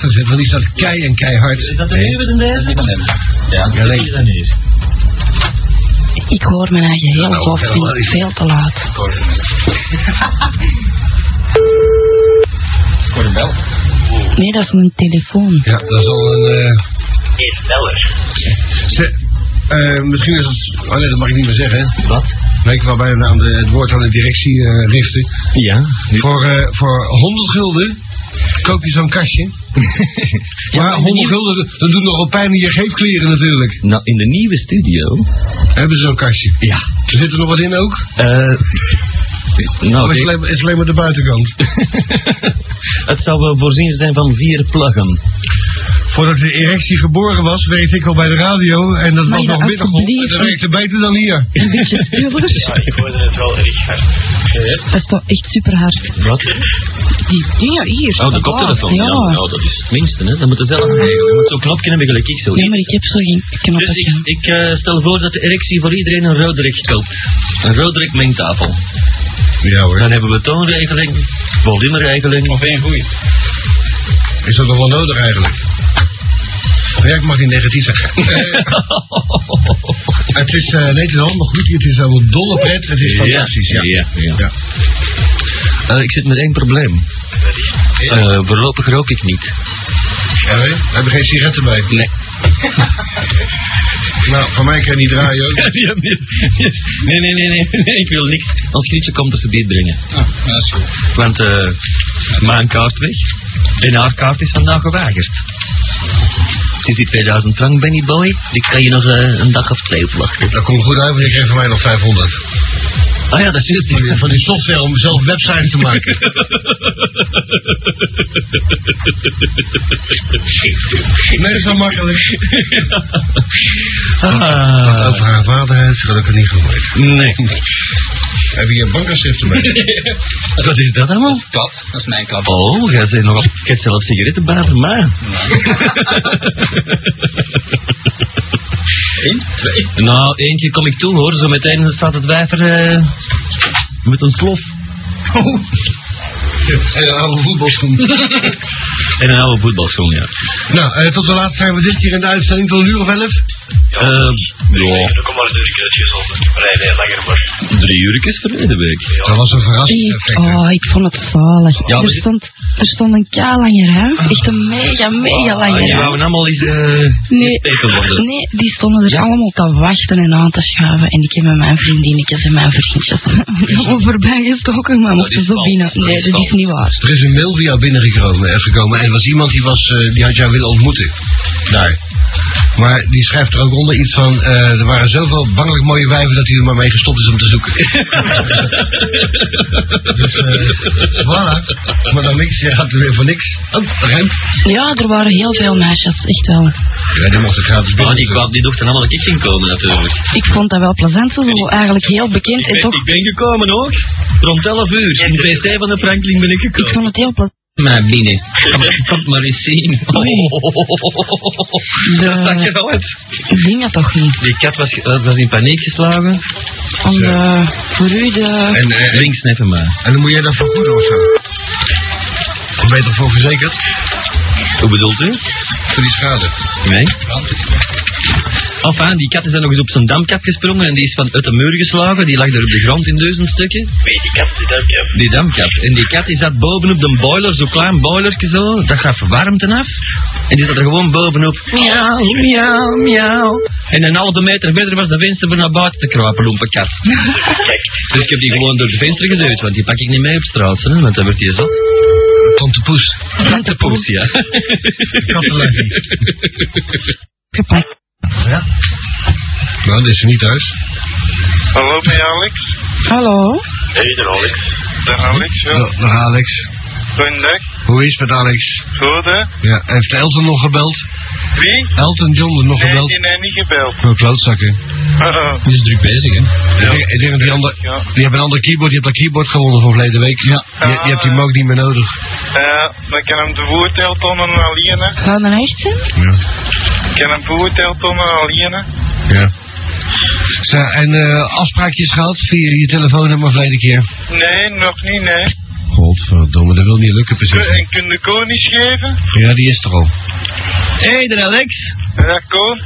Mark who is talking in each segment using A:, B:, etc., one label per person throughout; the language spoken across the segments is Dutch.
A: dan zit- dan is dat kei en keihard.
B: Is dat een uur in deze? Ja,
A: Ja, nee.
B: dat is een uur.
C: Ik hoor mijn eigen heel
A: Nou,
C: grof,
A: helemaal
C: vind ik veel te laat.
B: Voor de bel.
C: Nee, dat is mijn telefoon.
A: Ja, dat is al een... eh,
B: Is beller.
A: ze- eh, misschien is het... Oh nee, dat mag ik niet meer zeggen.
B: Wat?
A: Nee, ik wou bijna aan de, het woord aan de directie eh, richten.
B: Ja.
A: Voor, eh, voor 100 gulden koop je zo'n kastje. maar 100 gulden, dat doet nogal pijn in je geefkleren natuurlijk.
B: Nou, in de nieuwe studio.
A: Hebben ze zo'n kastje.
B: Ja.
A: Er zit er nog wat in ook?
B: Eh.
A: Of
B: nou,
A: is het
B: ik-
A: alleen, is alleen maar de buitenkant?
B: het zou wel voorzien zijn van vier pluggen.
A: Voordat de erectie geboren was, werkte ik al bij de radio. En dat
C: Maar
A: was
C: ja,
A: nog middaggolf. En
C: alsjeblieft.
A: dat werkte beter dan hier.
C: Een beetje stuurloos.
B: ik hoorde het wel erg hard.
C: Dat is toch echt super hard.
B: Wat?
C: Die dingen hier.
B: Oh, de
C: dat
B: koptelefoon.
C: blaast,
B: Ja,
C: Ja.
B: nou, dat is het minste, hè. Dat moet het zelf regelen. Je moet zo'n knopje hebben, gelijk ik zo.
C: Nee, maar ik heb zo geen knoppen.
B: Dus ik, ik eh, stel voor dat de erectie voor iedereen een Roderick koopt. Een Roderick mengtafel.
A: Ja hoor.
B: Dan hebben we toonregeling, volumeregeling. Of één goeie.
A: Is dat nog wel nodig eigenlijk? Ja, ik mag niet negatief zeggen. Eh, het is, eh, nee, het is allemaal goed. hier. Het is allemaal dolle pret. Het is fantastisch. Ja.
B: ja. ja.
A: Ja.
B: Eh, ik zit met één probleem. Eh, voorlopig rook ik niet.
A: Ja, hè? we hebben geen sigaretten bij.
B: Nee.
A: Nou, van mij kan je niet draaien ook.
B: nee, nee, nee, nee, nee, ik wil niks. Als Grietje komt, dat ze dit brengen.
A: Ah, ja, zo.
B: Want eh, mijn kaart weg. En haar kaart is vandaag geweigerd. Sinds die 2000 frank, Benny Boy, die kan je nog eh, een dag of twee op wachten.
A: Dat komt goed uit, want je geeft van mij nog 500.
B: Ah ja, dat is het.
A: Van die, van die software om zelf websites te maken. Nee, zo makkelijk. Over
B: Ah,
A: haar vader heeft ze gelukkig niet gehoord.
B: nee.
A: Heb je je bankafschriften bij?
B: Wat is dat allemaal?
A: Kat, dat is mijn kat.
B: Oh, jij bent nogal... Ik heb zelfs sigarettenbaar, maar... Nou, eentje kom ik toe hoor. Zo meteen staat het wijver eh, met een slof.
A: En een oude voetbalschoen.
B: En een oude voetbalschoen, ja.
A: Nou, eh, tot de laatste zijn we dit keer in de uitzending tot een uur of elf.
B: Eh, ja,
D: Dan kom maar eens een keer uitgezonden. Nee, nee, langer maar.
B: drie uur is verleden week.
A: Dat was een verrassing.
C: Ik, oh, ik vond het zalig.
B: Ja,
C: er,
B: maar-
C: stond, er stond een K langer hè? Echt een mega, mega
B: Ah,
C: lange
B: die
C: rij.
B: wouden allemaal eens eh
C: Nee,
B: gesteken worden.
C: nee, die stonden er allemaal te wachten en aan te schuiven. En ik heb met mijn vriendinnetjes en mijn vriendjes allemaal voorbij gestoken, maar mochten zo binnen. Nee, dat is niet waar.
A: Er is een mail via binnengekomen eh, gekomen en er was iemand die, was, eh, die had jou willen ontmoeten. Daar. Maar die schrijft er ook onder iets van, eh, er waren zoveel bangelijk mooie wijven dat hij er maar mee gestopt is om te zoeken. dus, eh, voilà. Maar dan niks, je gaat er weer voor niks. Oh, daar ruimt.
C: Ja, er waren heel veel meisjes, echt wel.
A: Ja, die mocht het gratis
B: Ah,
A: binnen.
B: die kwam die dochter allemaal ik ging komen natuurlijk.
C: Ik vond dat wel plezant, ze zijn eigenlijk heel bekend en
B: Ik ben,
C: toch,
B: ik ben gekomen ook. Rond 11 uur. In de PC van de Franklin ben ik
C: ik
B: gekomen.
C: vond het heel plezant.
B: Maar binnen. Kom, kom maar eens zien. Dat zag je nou wel uit.
C: Dingen toch niet.
B: Die kat was, eh, was in paniek geslagen.
C: Om de, voor u de...
A: En, eh,
B: Links neppen maar.
A: en dan moet jij dat vergoeden of zo. Of beter voor verzekerd,
B: Hoe bedoelt u?
A: voor die schade.
B: Nee. Enfin, die kat is dan nog eens op zijn damkap gesprongen en die is van uit de muur geslagen. Die lag er op de grond in duizend stukken.
D: Weet die kat die dat je
B: Die damkap. En die kat die zat boven op de boiler, zo'n klein boilertje zo. Dat gaf warmte af. En die zat er gewoon bovenop. Miauw, miauw, miauw. En een halve meter verder was de venster om naar buiten te kruipen, lompe kat. dus ik heb die gewoon door de venster geduwd, want die pak ik niet mee op straat, hè, want dan wordt die Oh, zot.
A: Tante Poes.
B: Tante Poes, ja.
A: Kattenluikie.
C: gepakt.
A: Nou, dat is ze niet thuis.
D: Hallo, ben je Alex?
C: Hallo?
D: Hey, daar Alex. Dag Alex, ja.
A: Nou, Dag Alex.
D: Goedendag.
A: Hoe is het met Alex?
D: Goed, hè?
A: Ja, heeft Elton nog gebeld?
D: Wie?
A: Elton John er nog
D: Nee,
A: gebeld?
D: die heeft niet gebeld.
A: Voor klootzakken.
D: Uh-oh.
A: Die is druk bezig, hè? Ik,
D: Ja.
A: denk, ik denk dat die ander...
D: Ja.
A: Die hebben een ander keyboard, die hebt dat keyboard gewonnen van verleden week. Ja. Die, die hebt
D: Ah.
A: die ook niet meer nodig.
D: Eh, dan kan hem de voertelt onder een aliene.
C: Gaan we naar echt zijn?
A: Ja.
D: Kan hem voertelt onder een aliene.
A: Ja. Zo, en eh, afspraakjes gehad via je telefoonnummer verleden keer?
D: Nee, nog niet, nee.
A: God. Godverdomme, dat wil niet lukken
D: Kun-
A: precies.
D: En kun de Koen iets geven?
A: Ja, die is er al.
B: Hé, hey, de Alex.
D: Ja, Koen.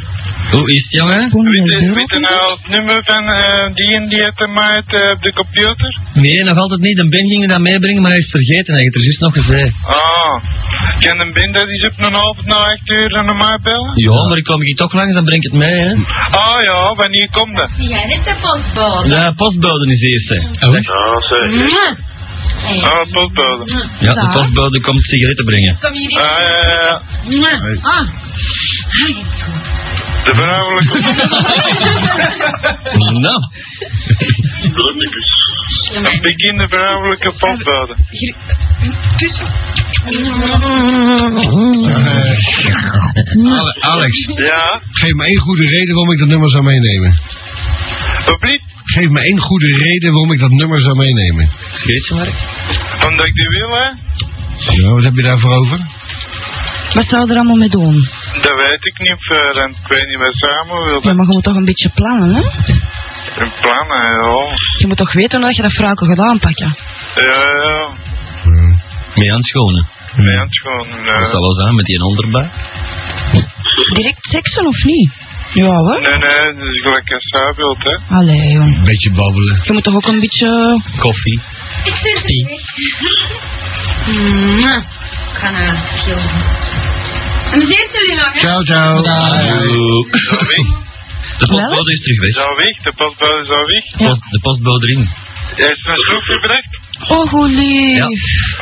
B: Hoe is het, jongen?
C: Kon je
D: Weet
C: dat
D: je-
C: doen?
D: weet je nou het nummer van eh, die en die uit de maat eh, op de computer?
B: Nee, nog altijd niet. Een Ben ging dat meebrengen, maar hij is het vergeten. Hij heeft het er juist nog gezegd.
D: Ah. Kan een Ben dat eens op een half na acht uur aan mij bellen?
B: Ja, maar ik kom hier toch langs, dan breng ik het mee, hè.
D: Ah ja, wanneer komt dat?
E: Jij bent de postbode.
B: Ja, postbode is eerst, hè.
D: Ah, zeg. Ah, postbode.
B: Ja, de postbode komt sigaretten brengen.
E: Kom hier
D: Ah, ja, ja, ja.
E: binnen. Ah.
D: De vrouwelijke...
B: Nou,
D: Begin de vrouwelijke postbode.
A: Ale- Eh, Alex,
D: Ja?
A: geef me één goede reden waarom ik dat nummer zou meenemen.
D: Wat blieft?
A: Geef me één goede reden waarom ik dat nummer zou meenemen.
B: scheetje maar.
D: Omdat ik die wil, hè?
A: Ja, wat heb je daarvoor over?
C: Wat zou je er allemaal mee doen?
D: Dat weet ik niet verder. en Ik weet niet waar samen wil.
C: Ja, maar je moet toch een beetje plannen, hè?
D: Een plan, hè, ja.
C: Je moet toch weten dat je dat vrouwke gaat aanpakken.
D: Ja, ja.
B: Mee aan het schonen.
D: Nee, het is gewoon... eh,
B: Dat was aan met die onderbuik.
C: Direct seksen of niet? Ja hoor.
D: Nee, nee, dat is gelijk als zij wilt, hè?
C: Allee jong.
A: Beetje babbelen.
C: Je moet toch ook een beetje...
B: Koffie.
E: Ik zit er
B: Die.
E: niet. Ik ga naar het schilderen. En dan zien jullie nog, hè?
A: Ciao, ciao.
D: Zo weg,
B: De postbode is terug weg.
D: zo weg, de postbode is al weg.
B: Post- De postbode erin.
D: Hij is naar schroefje gebracht.
C: Oh, hoe lief.
B: Ja.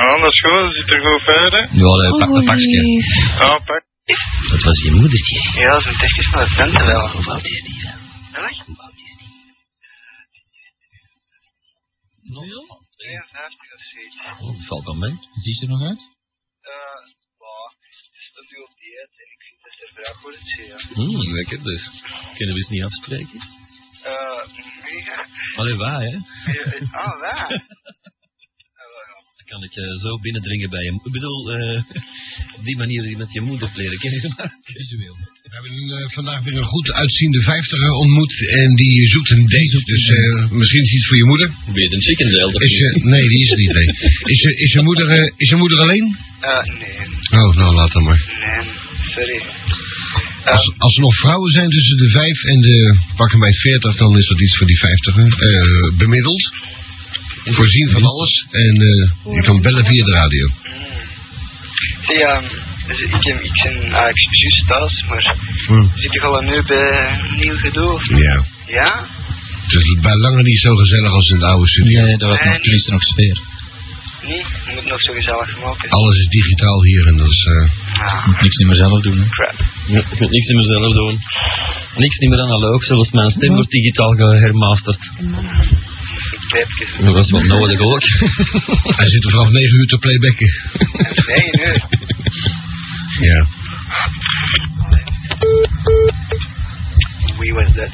D: Ah, dat is goed, dat zit er goed verder.
B: Ja, dat
C: Oh,
B: pak
C: hoe
B: een pakje.
C: lief.
D: Ah, pak.
B: Dat was je moedertje.
F: Ja, dat is een technisch van het centen wel.
B: Hoe oud is die?
F: Echt?
B: Hoe oud is die?
F: Ja, 50 of zoiets.
B: Oh, dat valt dan mee. Ziet er nog uit?
F: Eh,
D: Äh,
F: maar het is natuurlijk dieet en ik vind dat er vrij voor het zee, ja.
B: Hmm, lekker dus. Kunnen we eens niet afspreken?
F: Eh, nee, ja.
B: Allee, waar hè?
F: Eh, Ah, waar?
B: Dan kan ik je zo binnendringen bij je mo- Ik bedoel, eh, op die manier met je moeder leren kennen. Visueel.
A: We hebben een, eh, vandaag weer een goed uitziende vijftiger ontmoet en die zoekt een date. Dus eh, misschien is iets voor je moeder.
B: Weer een chicken deal, dat
A: Is je, nee, die is er niet. Nee. Is, je, is, je moeder, eh, is je moeder alleen?
F: Eh, nee,
A: Oh, nou laat dan maar.
F: nee, sorry.
A: Als, als er nog vrouwen zijn tussen de 5 en de pakken bij 40, dan is dat iets voor die 50 eh bemiddeld. Voorzien van alles. En eh, je kan bellen via de radio.
F: Zie, Hmm. ja, dus ik, heb- ah, ik ben eigenlijk juist thuis, maar
A: Hm.
F: zit ik al nu bij nieuw gedoe? of niet?
A: Ja.
F: Ja?
A: Het is bij lange niet zo gezellig als in de oude studio.
B: Nee, dat was nog, toen is er nog sfeer.
F: Nee? Je moet nog zo gezellig maken.
A: Alles is digitaal hier en dat is. eh,
F: Ah,
B: moet niks niet meer zelf doen. Hè.
F: crap.
B: ik moet niks niet meer zelf doen. Niks niet meer analoog, zelfs mijn stem wordt digitaal gehermasterd.
F: Ik heb het
B: Dat was wel nodig ook.
A: hij zit er vanaf 9 uur te playbacken.
F: Nee, nee.
A: Ja.
F: Wie was dat?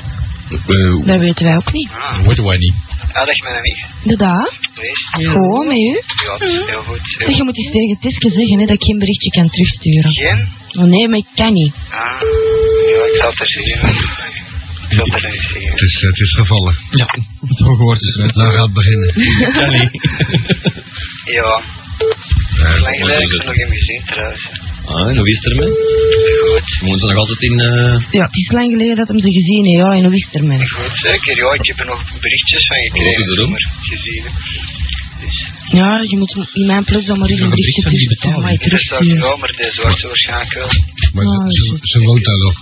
A: Eh,
C: Dat weten wij ook niet.
F: Ah,
B: Wat wij niet.
F: ah dat is mijn amigo.
C: Inderdaad.
F: Wees.
C: Gewoon met u.
F: Ja, dat is heel goed. heel
C: Hmm. Zeg, je moet eens tegen Tiske zeggen hè, dat ik geen berichtje kan terugsturen.
F: Eh, Geen?
C: Oh, nee, maar ik kan niet.
F: Ah, ja, ik zal het er zeggen. Ik zal het er niet
A: het,
F: zeggen.
A: is, het is gevallen.
B: Ja, zo gehoord dus, eh. is het.
A: Nou gaat het beginnen.
B: Kan niet.
F: Ja,
A: Ja,
F: lang geleden heb ik ze nog in gezien trouwens.
B: Ah, en hoe is het ermee?
F: Goed,
B: We moeten nog altijd in... eh,
C: Ja, het is lang geleden dat hem ze gezien heeft, ja, en hoe is het ermee?
F: goed zeker. Ja, ik heb er nog berichtjes van gekregen.
B: Oh, daarom?
F: maar gezien. hè. Dus,
C: Ja, je moet in mijn plus dan maar eens een berichtje terugsturen. Maar ik
F: dat zou ik
C: terugsturen.
F: wel, maar deze wordt ze waarschijnlijk wel.
A: Maar ze, ze, ze woont daar nog.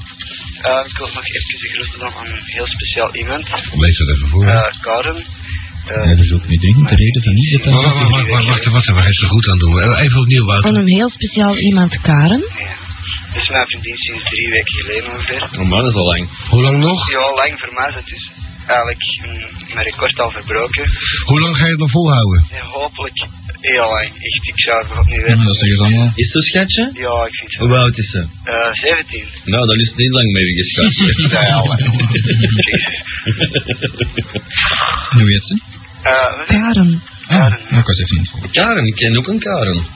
F: Eh, ik wil nog even de groeten doen aan een heel speciaal iemand,
A: Lees dat even voor.
F: Eh Karen. Eh,
B: Ja, dat is ook niet dringend. De reden van niet dat
A: Wacht, wacht, wacht, wacht, wacht, wacht, waar is er goed aan doen? Eh, Even opnieuw,
C: Aan
A: Wouter.
C: een heel speciaal iemand, Karen.
F: ja. Dat is mijn vriendin sinds drie weken geleden ongeveer.
B: Oh man, dat is al lang.
A: Hoe lang nog?
F: Ja, lang voor mij is het dus eigenlijk mm, mijn record al verbroken.
A: Hoe lang ga je het nog volhouden?
F: Ja, hopelijk heel lang. Echt, ik zou het nog niet weten.
B: Is het een schatje?
F: Ja, ik vind het
B: Hoe oud is ze?
F: Eh, 17.
B: Nou, daar is het niet lang mee geschat.
F: Ja, ja, maar-
B: Nu weet ze. Ah, nou,
F: Eh, wat is het?
C: Karen.
F: Karen, hè?
B: was even niet Karen, ik ken ook een Karen.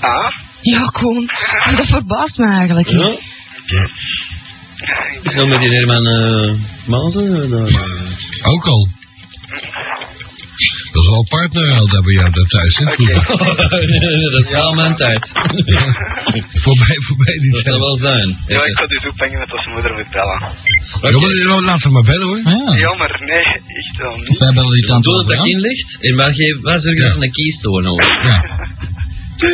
F: Ah,
C: Ja, Koen. En dat verbaast me eigenlijk. niet.
B: Ja?
F: Ah?
B: Is dat met die Herman eh Mazen? eh, daar, eh,
A: Ook al. inmiddels al partner had daar bij jou daar thuis. Hè? vroeger.
B: dat is wel mijn tijd.
A: Voorbij, voorbij die
B: Dat
A: tijd.
B: zou wel zijn.
F: Ja, ik ga dus ophangen met als moeder moet bellen.
A: Ja, maar laat hem maar bellen hoor.
G: Ja.
F: Jammer, nee, echt wel niet.
G: Wij bellen die
B: Dan
G: tante
B: doe dat dat
G: Abraham.
B: in ligt en waar, geef, waar zorg je
A: Ja.
B: dat van een kiestoorn over?
A: Ja. Ze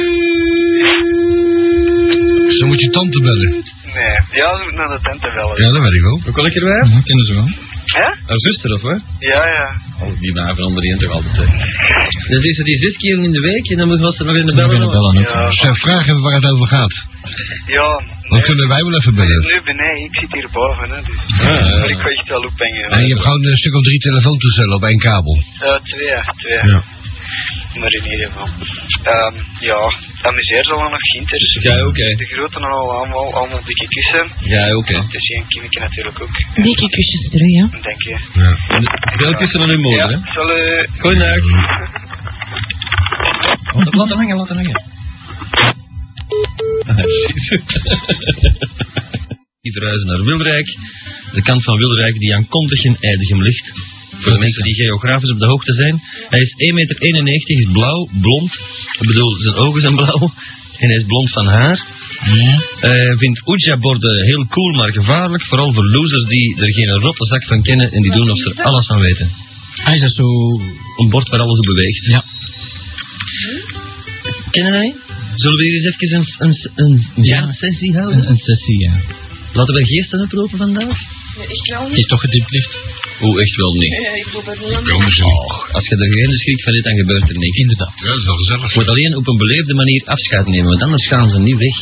A: Dus moet je tante bellen.
F: Nee, ja, ze moet naar de tent bellen.
A: Ja, dat weet ik wel.
B: Ook wel lekker wijf?
G: Ja, Mhm, kennen ze wel.
F: Hè?
B: Haar zuster of wat?
F: Ja, ja.
B: Oh, die wijven onder die toch altijd. hè. Dan zit ze die zes keer in de week en dan moet ze nog in
G: Dan
B: de bellen.
G: kunnen we bellen ook.
F: Ja,
A: Zijn vragen waar het over gaat.
F: ja.
A: Dan
F: nee.
A: kunnen wij wel even
F: Ik zit
A: bellen.
F: nu beneden, ik zit hier boven, hè, dus.
B: ja.
F: Maar ik ga echt wel ophangen.
A: En je hebt gewoon een stuk of drie telefoontoestellen op één kabel.
F: Ja, Eh, twee, twee.
A: Ja.
F: Maar in ieder geval. Ehm, ja, amuseer ze al nog ginters.
B: Jij ook, hè?
F: De groten al allemaal, allemaal dikke kussen.
B: Jij ook, hè?
F: Het is één kindje natuurlijk ook,
C: Dikke kusjes terug, ja.
F: denk je.
A: Ja.
B: Veel kussen aan uw moeder, hè?
F: Ja, salut.
B: Goeiedag.
G: Oh, Laat hem hangen, laat hem hangen.
B: Ah, Die verhuizen naar Wilrijk, de kant van Wilrijk die aan Kontig in Eidegem ligt. Voor de mensen die geografisch op de hoogte zijn. Hij is 1,91 meter, is blauw, blond. Ik bedoel, zijn ogen zijn blauw. En hij is blond van haar. Eh, vindt Oejaborden heel cool, maar gevaarlijk. Vooral voor losers die er geen rotte zak van kennen en die doen of ze er alles van weten.
G: Hij is dat zo...
B: Een bord waar alles op beweegt.
G: Ja.
B: Kennen wij? Zullen we hier eens even een, een, een,
G: Ja.
B: sessie houden?
G: Een, een sessie, ja.
B: Laten we geesten oproepen vandaag?
E: Ik wel
G: Die is toch gedipt licht.
B: Oeh, echt wel niet.
E: Eh, ik wil er niet aan
A: Komen ze niet.
B: Och, als je er geen schrik van hebt, dan gebeurt er niks. Inderdaad.
A: Ja, dat is wel gezellig.
B: Je moet alleen op een beleefde manier afscheid nemen, want anders gaan ze niet weg.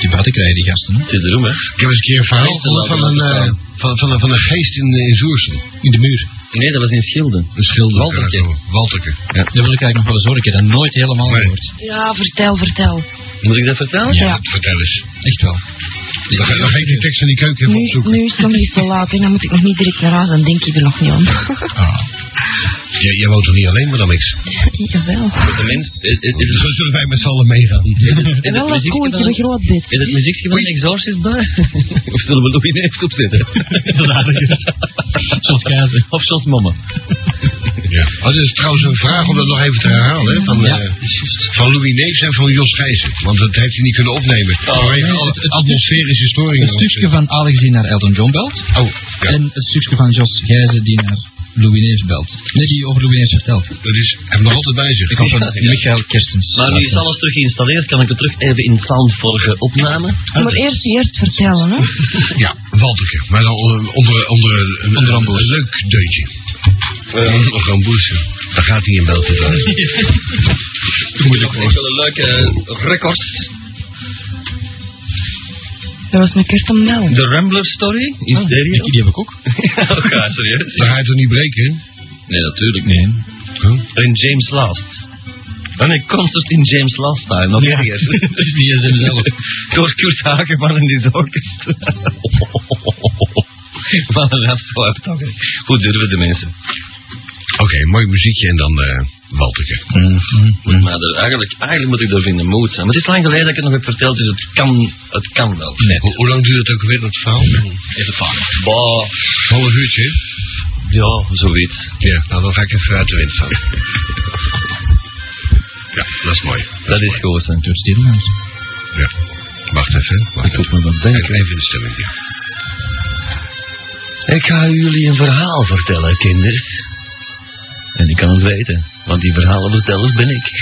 G: Die baten krijgen die gasten, hè.
B: Het is de roem, hè?
A: Ik heb eens een keer een verhaal gehoord van een, eh, van, van, een- van een geest in, eh, in Zoersen. In de muur.
B: Nee, dat was in Schilden.
A: Een schilder.
B: Walterke.
A: Ja, Walterke.
G: Ja. Daar wil ik eigenlijk nog wel eens horen. Ik heb dat nooit helemaal
A: Nee.
G: gehoord.
C: Ja, vertel, vertel.
B: Moet ik dat vertellen?
C: Ja.
A: Vertel eens.
G: Echt wel.
A: Dan ga, dan ga ik die tekst in die keuken even
C: Nu,
A: opzoeken.
C: nu is het nog niet zo laat en dan moet ik nog niet direct naar huis, dan denk ik er nog niet aan.
A: Ah. Jij, jij woont toch niet alleen, maar dan niks.
C: Jawel.
B: De mens, is, is, is,
A: Dan zullen wij met z'n allen meegaan.
B: is
C: En
B: het
C: wel wat
B: muziekje
C: goed, ik heb een
B: van-
C: groot bed.
B: is het muziekje van Exorcist bij? Of zullen we nog ineens opzetten?
G: Zoals kazen.
B: Of zoals mama.
A: Ja. Oh, dat is trouwens een vraag om dat nog even te herhalen. Hè, van,
G: Ja.
A: eh, van Louis Neefs en van Jos Gijzen. Want dat heeft hij niet kunnen opnemen. Vanwege
G: Oh, nee,
A: alle
G: het- het-
A: atmosferische storingen.
G: Het stukje van Alex die naar Elton John belt.
A: Oh, ja.
G: En het stukje van Jos Gijzen die naar Louis Neefs belt. Nee, die over Louis Neefs vertelt.
A: dat is, hij heeft nog altijd bij zich.
G: Ik had van Michael Kerstens.
B: Maar nu is alles terug geïnstalleerd, kan ik het terug even in soundvorige opname.
C: Maar eerst eerst vertellen, hè.
A: Ja, Walterke. Maar dan onder, onder, onder, een, een, een leuk deuntje. Onder een ramboesje. Daar gaat hij in België trouwens.
B: Moeilijk hoor. Wel een leuke eh, record.
C: Dat was een keer om bellen.
B: De Rambler Story in
G: Ah,
B: stereo.
G: die, die heb ik ook.
B: Oh, ja, serieus?
A: Dan ga je toch niet breken, hè?
B: Nee, natuurlijk niet. En James Last. En een concert in James Last Time, nog erger.
A: Dus
B: Die is hem zelf. Door Kurt Hageman en die orkest. Wat een afsluit toch, hè. Hoe durven de mensen?
A: Oké, mooi muziekje en dan eh Walterke.
B: Mhm. Maar er- eigenlijk, eigenlijk moet ik daar in de mood zijn. Maar het is lang geleden dat ik het nog heb verteld, dus het kan, het kan wel.
A: Hoe, hoe lang duurt het ook weer, dat verhaal?
B: Even vaak. Bah,
A: Half uurtje, hè?
B: ja, zoiets.
A: Ja, nou dan ga ik even uit de wind staan. ja, dat is mooi.
B: Dat is goed, hè.
G: Door Stilmans.
A: Ja. Wacht even, wacht
G: Ik
A: even.
G: doe me wat
A: Kijk
G: denken.
A: even in de stemming. ja.
B: Ik ga jullie een verhaal vertellen, kinders. En ik kan het weten, want die verhalenverteller ben ik.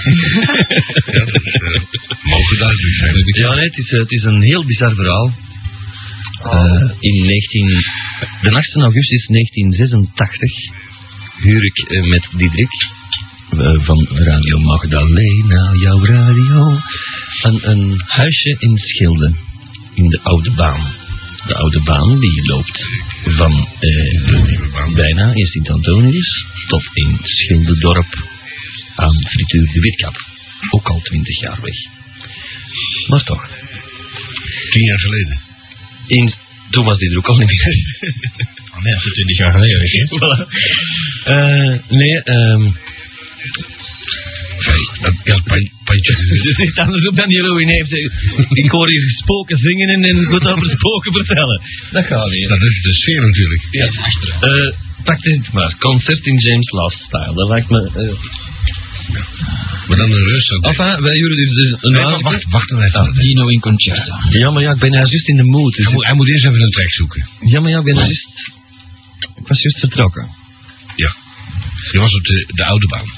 A: Ja, dat is, eh, mogen duidelijk zijn.
B: Ja, nee, het is, eh, het is een heel bizar verhaal. Eh, in 19, de 18 augustus 1986 huur ik eh, met Diederik eh, van Radio Magdalena, jouw radio, van een huisje in Schilde, in de Oude Baan. De Oude Baan die loopt van eh, bijna in Sint-Antonius tot in Schildedorp aan Frituur de Witkamp. Ook al 20 jaar weg. Maar toch.
A: Tien jaar geleden.
B: In, toen was die er ook al niet meer.
G: Ah, Nee, dat is 20 jaar geleden, weet je.
B: Voilà. Eh, nee, ehm,
A: Kijk, dat, ja, pa- pandje.
B: Het is niet andersom dan die Louis heeft. eh, Ik hoor hier spoken zingen en, en goed over spoken vertellen. Dat gaat weer.
A: Dat is de sfeer natuurlijk.
B: Ja. Eh, pak dit maar. Concert in James Last Style. Dat lijkt me... eh,
A: Maar dan een rust ook.
B: Enfin, wij jullie dus dus een
A: Nee, maar
B: avond-
A: wacht, wacht nog even.
G: Dino in concerto.
B: Ja, maar ja, ik ben nou juist in de mood. Dus
A: nou Hij moet, hij moet eerst even een track zoeken.
B: Ja, maar ja, ik ben nou juist... Ik was juist vertrokken.
A: Je was op de, de oude baan.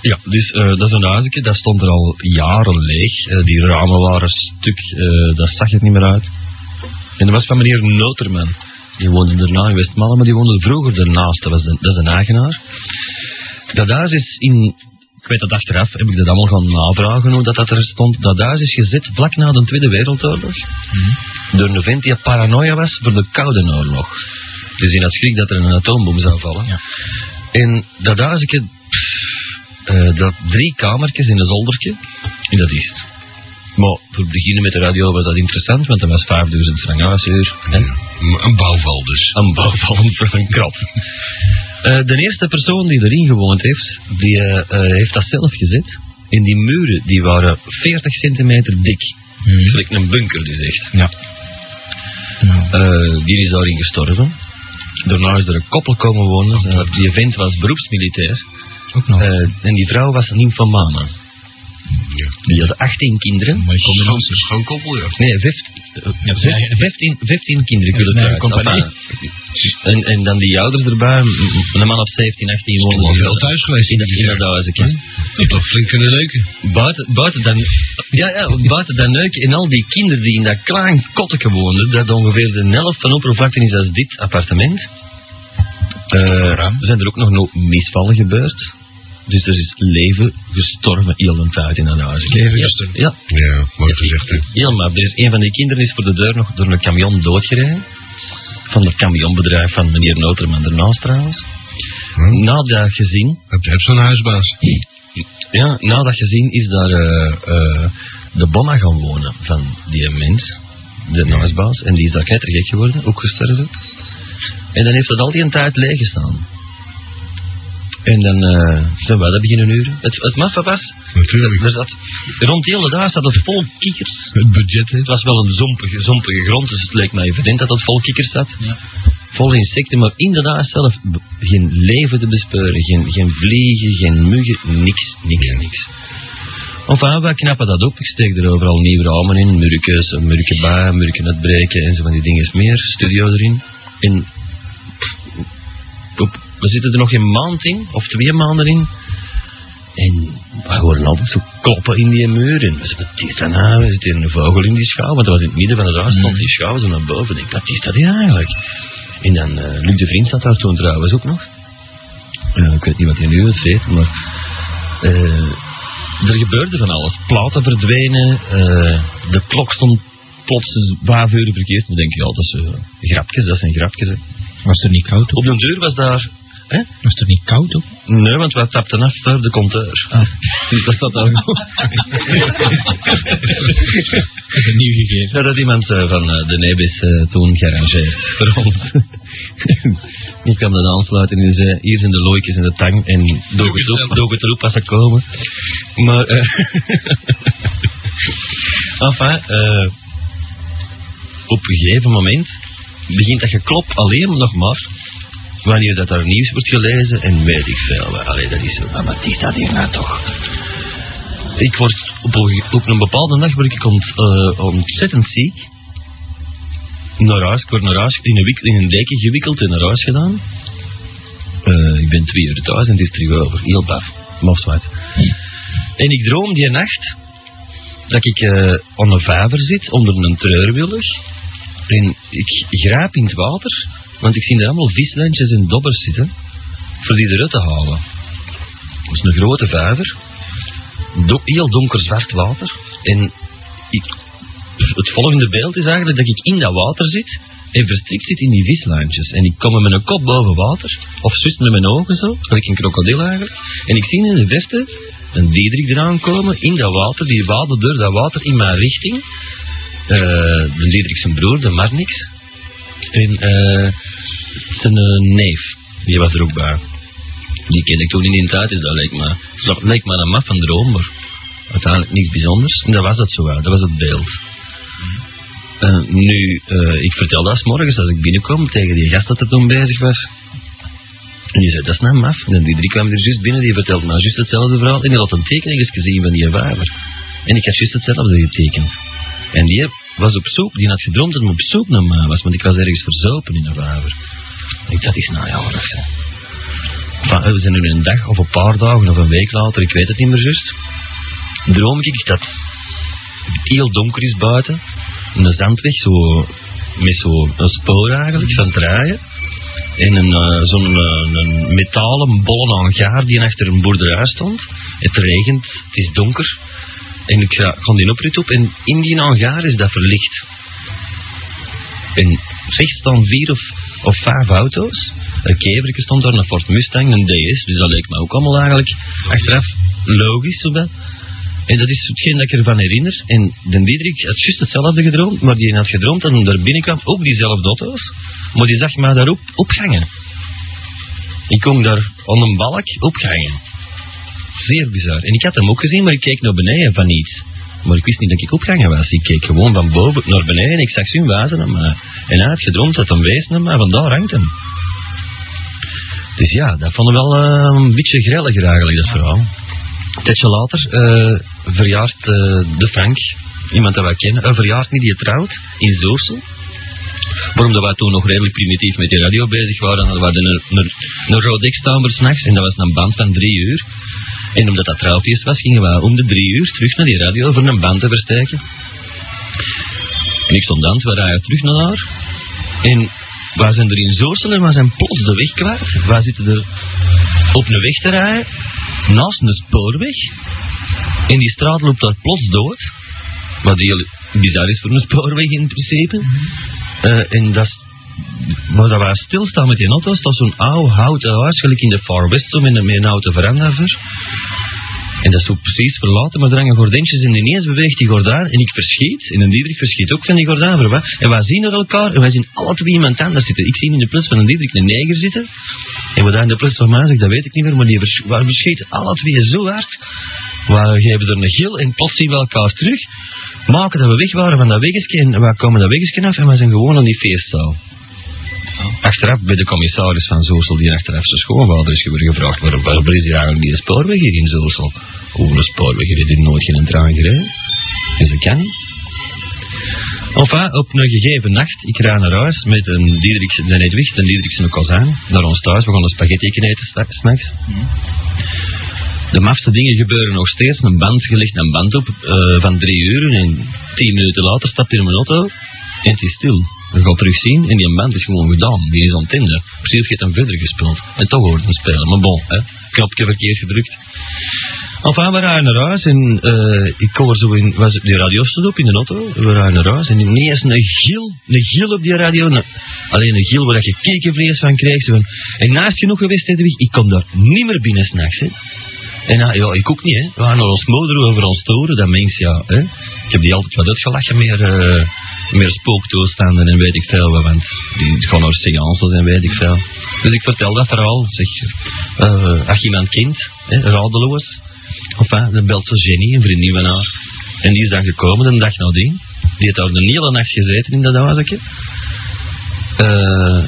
B: Ja, dus eh, dat is een huisje, dat stond er al jaren leeg. Eh, die ramen waren stuk, eh daar zag het niet meer uit. En dat was van meneer Noterman. Die woonde daarna in Westmalle, maar die woonde vroeger daarnaast. Dat, was de, dat is een eigenaar. Dat huis is in... Ik weet dat achteraf, heb ik dat allemaal gaan navragen hoe dat, dat er stond. Dat huis is gezet vlak na de Tweede Wereldoorlog.
A: Mhm.
B: Door een vent die paranoia was voor de Koude Oorlog. Dus in had schrik dat er een atoombom zou vallen. En dat huisje, eh, dat drie kamertjes in een zoldertje, en dat is het. Maar voor het beginnen met de radio was dat interessant, want dat was 5000 frank huishuur en
A: M- Een bouwval dus.
B: een bouwval voor een krap. Eh, de eerste persoon die erin gewoond heeft, die eh, eh, heeft dat zelf gezet. En die muren, die waren 40 centimeter dik.
G: Mhm.
B: Gelijk een bunker dus echt.
G: Ja. Nou,
B: Eh, die is daarin gestorven. Daarna is er een koppel komen wonen. Eh, die vent was beroepsmilitair.
G: ook nog.
B: Eh, en die vrouw was een nymphomane. Die had 18 kinderen.
G: Maar kom in ons.
A: Een schoonkoppel, ja.
B: Nee, 15, 15, 15 kinderen. Ik wil
G: Ja,
B: het
G: mijn
B: eruit.
G: compagnie.
B: Enfin, en, en dan die ouders erbij. m- Een man of 17, 18 wonen.
A: Wel
B: nog
A: veel thuis geweest
B: In
A: in
B: dat, in dat
A: die
B: huis, ik, hè.
A: Dat toch flink kunnen neuken.
B: Buiten, buiten, dan, ja, ja, buiten dan neuk en al die kinderen die in dat klein kotteke woonden, dat ongeveer de helft van oppervlakte is als dit appartement, eh, zijn er ook nog nooit misvallen gebeurd. Dus er is leven gestorven heel een tijd in dat huis.
A: Leven
B: Ja,
A: gestorven.
B: Ja,
A: Ja, mooi gezegd, hè.
B: helemaal. Dus een van die kinderen is voor de deur nog door een camion doodgereden. Van het camionbedrijf van meneer Noterman ernaast trouwens.
A: Hm?
B: Na dat gezin
A: Heb, heb zo'n huisbaas.
B: Ja, na dat gezien is daar eh, eh, de bomma gaan wonen van die mens, de huisbaas. En die is daar knettergek geworden, ook gestorven. En dan heeft dat al die een tijd leeg gestaan. En dan eh, zijn wij dat beginnen huren. Het, het maffe was,
A: Natuurlijk.
B: er zat, rond heel het huis zat het vol kikkers.
A: Het budget, hè.
B: Het was wel een zompige, zompige grond, dus het leek mij evident dat het vol kikkers zat.
G: Ja.
B: Vol insecten, maar inderdaad zelf b- geen leven te bespeuren. Geen, geen vliegen, geen muggen, niks, niks, niks. Enfin, wij knappen dat op. Ik steek er overal nieuwe ramen in. Murkjes, een murken bij, murken uitbreken en zo van die dingen meer. Studio erin. En pff, op- we zitten er nog een maand in, of twee maanden in. En we horen altijd zo kloppen in die muur. En we zeggen, wat is dat nou? Er zit hier een vogel in die schouw. Want dat was in het midden van het huis, stond die schouw zo naar boven. Ik denk, wat is dat hier eigenlijk? En dan, eh, Luc de Vriend zat daar toen trouwens ook nog. Eh, ik weet niet wat hij nu het weet, maar... eh, er gebeurde van alles. Platen verdwenen, eh, de klok stond plots eens vijf uur verkeerd. Dan denk je, ja, dat is eh, grapjes, dat zijn grapjes. hè.
G: Was het niet koud op?
B: Op de deur was daar... Hè?
G: Was het niet koud Ah. op?
B: Nee, want wij tapten af voor de compteur. Dus dat zat daar gewoon.
G: Een nieuw gegeven.
B: Dat had iemand eh, van eh, de Nebis eh, toen gearrangeerd voor ons. Ik kwam dat aansluiten en die zei, hier zijn de looikjes en de tang en doe het op, doe het erop als ze komen. Maar, eh enfin, eh, op een gegeven moment begint dat geklop alleen nog maar wanneer dat er nieuws wordt gelezen en weet ik veel. wat. Allee, dat is zo, maar wat is dat hier nou toch? Ik word op een, op een bepaalde nacht word ik ont, eh, ontzettend ziek. Naar huis, ik word naar huis in een, wik, in een deken gewikkeld en naar huis gedaan. Eh, ik ben twee uur thuis en het is terug over. Heel baf. Mofswaard. En ik droom die nacht dat ik eh aan een vijver zit onder een treurwillig. En ik grijp in het water, want ik zie daar allemaal vislijntjes en dobbers zitten. Voor die eruit te halen. Dat is een grote vijver do- heel donker zwart water. En ik, dus het volgende beeld is eigenlijk dat ik in dat water zit en verstrikt zit in die vislijntjes. En ik kom met mijn kop boven water, of zus met mijn ogen zo, gelijk een krokodil eigenlijk. En ik zie in de verte een Diederik eraan komen in dat water, die waadde door dat water in mijn richting. Eh, de Diederik zijn broer, de Marnix. En eh, zijn eh, neef, die was er dus ook bij. Die kende ik toen in die tijd, dus dat lijkt me, dat lijkt me een maf van droom, maar uiteindelijk niks bijzonders. En dat was dat zo, ja. dat was het beeld. Eh, nu, eh, ik vertelde dat 's morgens als ik binnenkwam tegen die gast dat er toen bezig was. En die zei, dat is nou maf. En die drie kwamen er juist binnen, die vertelde mij juist hetzelfde verhaal. En die had een tekening gezien van die vader. En ik had juist hetzelfde getekend. En die was op zoek, die had gedroomd dat hij op zoek naar mij was, want ik was ergens verzopen in een vader. En ik dacht, is nou ja, dat zijn. Van, eh, we zijn nu een dag of een paar dagen of een week later, ik weet het niet meer juist. Droom ik dat het heel donker is buiten, en de zandweg, zo, met zo'n spoor eigenlijk, van het rijden. En een, eh, zo'n eh, een metalen bol aan gaar die achter een boerderij stond. Het regent, het is donker. En ik ga, ga die oprit op en in die hangaar is dat verlicht. En rechts staan vier of, of vijf auto's. Een keverke stond daar, een Ford Mustang, een DS. Dus dat leek me ook allemaal eigenlijk achteraf logisch. Zowel. En dat is hetgeen dat ik ervan herinner. En de Diederik had juist hetzelfde gedroomd, maar die had gedroomd dat hij daar binnenkwam, ook diezelfde auto's. Maar die zag mij daar op, opgangen. Ik kon daar aan een balk opgangen. Zeer bizar. En ik had hem ook gezien, maar ik keek naar beneden van iets. Maar ik wist niet dat ik opgangen was. Ik keek gewoon van boven naar beneden en ik zag zijn wazen naar mij. En hij had gedroomd dat hem wees naar mij, vandaar hangt hem. Dus ja, dat vond ik wel eh, een beetje grelliger eigenlijk, dat verhaal. Een tijdje later eh, verjaart eh, de Frank, iemand dat wij kennen, een verjaart niet die trouwt in Zoorsel. Waarom dat wij toen nog redelijk primitief met die radio bezig waren, hadden we een, een, een Rodex-tamer s'nachts en dat was een band van drie uur. En omdat dat trouwfeest was, gingen we om de drie uur terug naar die radio voor een band te versterken. En ik stond aan, we rijden terug naar haar. En wij zijn er in Zoorsel en wij zijn plots de weg kwijt. Wij zitten er op een weg te rijden, naast een spoorweg. En die straat loopt daar plots dood. Wat heel bizar is voor een spoorweg in principe. Eh, en dat is maar dat wij stilstaan met die auto, staat zo'n oud houten huis, gelijk in de Far West, zo met een, met een houten veranda voor. En dat is zo precies verlaten, maar er hangen gordijntjes en ineens beweegt die gordijn en ik verschiet. En een Diederik verschiet ook van die gordijn. Voor wat? En wij zien er elkaar en wij zien alle twee iemand anders zitten. Ik zie in de plus van een Diederik een neger zitten. En wat daar in de plus van mij zegt, dat weet ik niet meer, maar die vers wij verschieten alle twee zo hard. We geven er een gil en plots zien we elkaar terug. Maken dat we weg waren van dat weggetje en wij komen dat weggetje af en wij zijn gewoon aan die feestzaal. Achteraf bij de commissaris van Zoorsel, die achteraf zijn schoonvader is geworden gevraagd, waarom waar waar is hier eigenlijk die spoorweg hier in Zoorsel? Over de spoorweg hier is hier nooit geen trein gereden. Dus dat kan niet. Enfin, op een gegeven nacht, ik rijd naar huis met een Diederik, de Edwig, de Diederik zijn kozijn, naar ons thuis. We gaan een spaghetti eten sta- s'nachts. De mafste dingen gebeuren nog steeds. Een band gelegd, een band op eh, van drie uur. En tien minuten later stapt hij in mijn auto en het is stil. We gaan terug zien en die band is gewoon gedaan. Die is aan het einde. Precies, je hebt hem verder gespeeld. En toch hoort hem spelen. Maar bon, hè. knopje verkeerd gedrukt. Enfin, we rijden naar huis en eh, ik hoor zo in, was het- die radio stond op in de auto, we rijden naar huis en ineens een gil, een gil op die radio, een- alleen een gil waar je kekenvlees van krijgt. Zo van, En naast genoeg geweest, Hedwig, ik kom daar niet meer binnen s'nachts. En ah, ja, ik ook niet, hè. We gaan naar ons moeder over ons toren, dat mens, ja. Hè. Ik heb die altijd wat uitgelachen, meer, eh meer spooktoestanden en weet ik veel wat, want die gaan naar seances en weet ik veel. Dus ik vertel dat verhaal, zeg, eh als iemand kind, hè, radeloos, enfin, dan belt ze Jenny, een vriendin van haar. En die is dan gekomen, de dag nadien. Die heeft daar de hele nacht gezeten in dat huisje. Eh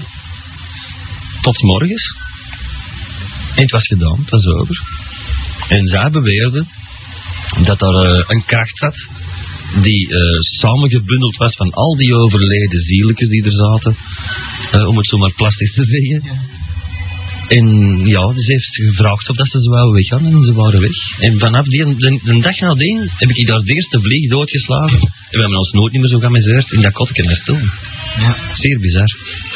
B: tot morgens. En het was gedaan, het was over. En zij beweerde dat er eh, een kaart zat die eh, samengebundeld was van al die overleden zieltjes die er zaten, eh, om het zo maar plastisch te zeggen. En ja, dus heeft ze gevraagd of dat ze zouden weggaan en ze waren weg. En vanaf die, de, de dag nadien heb ik daar de eerste vlieg doodgeslagen. En we hebben ons nooit meer zo geamuseerd in dat kotje naar stoel.
A: Ja.
B: Zeer bizar.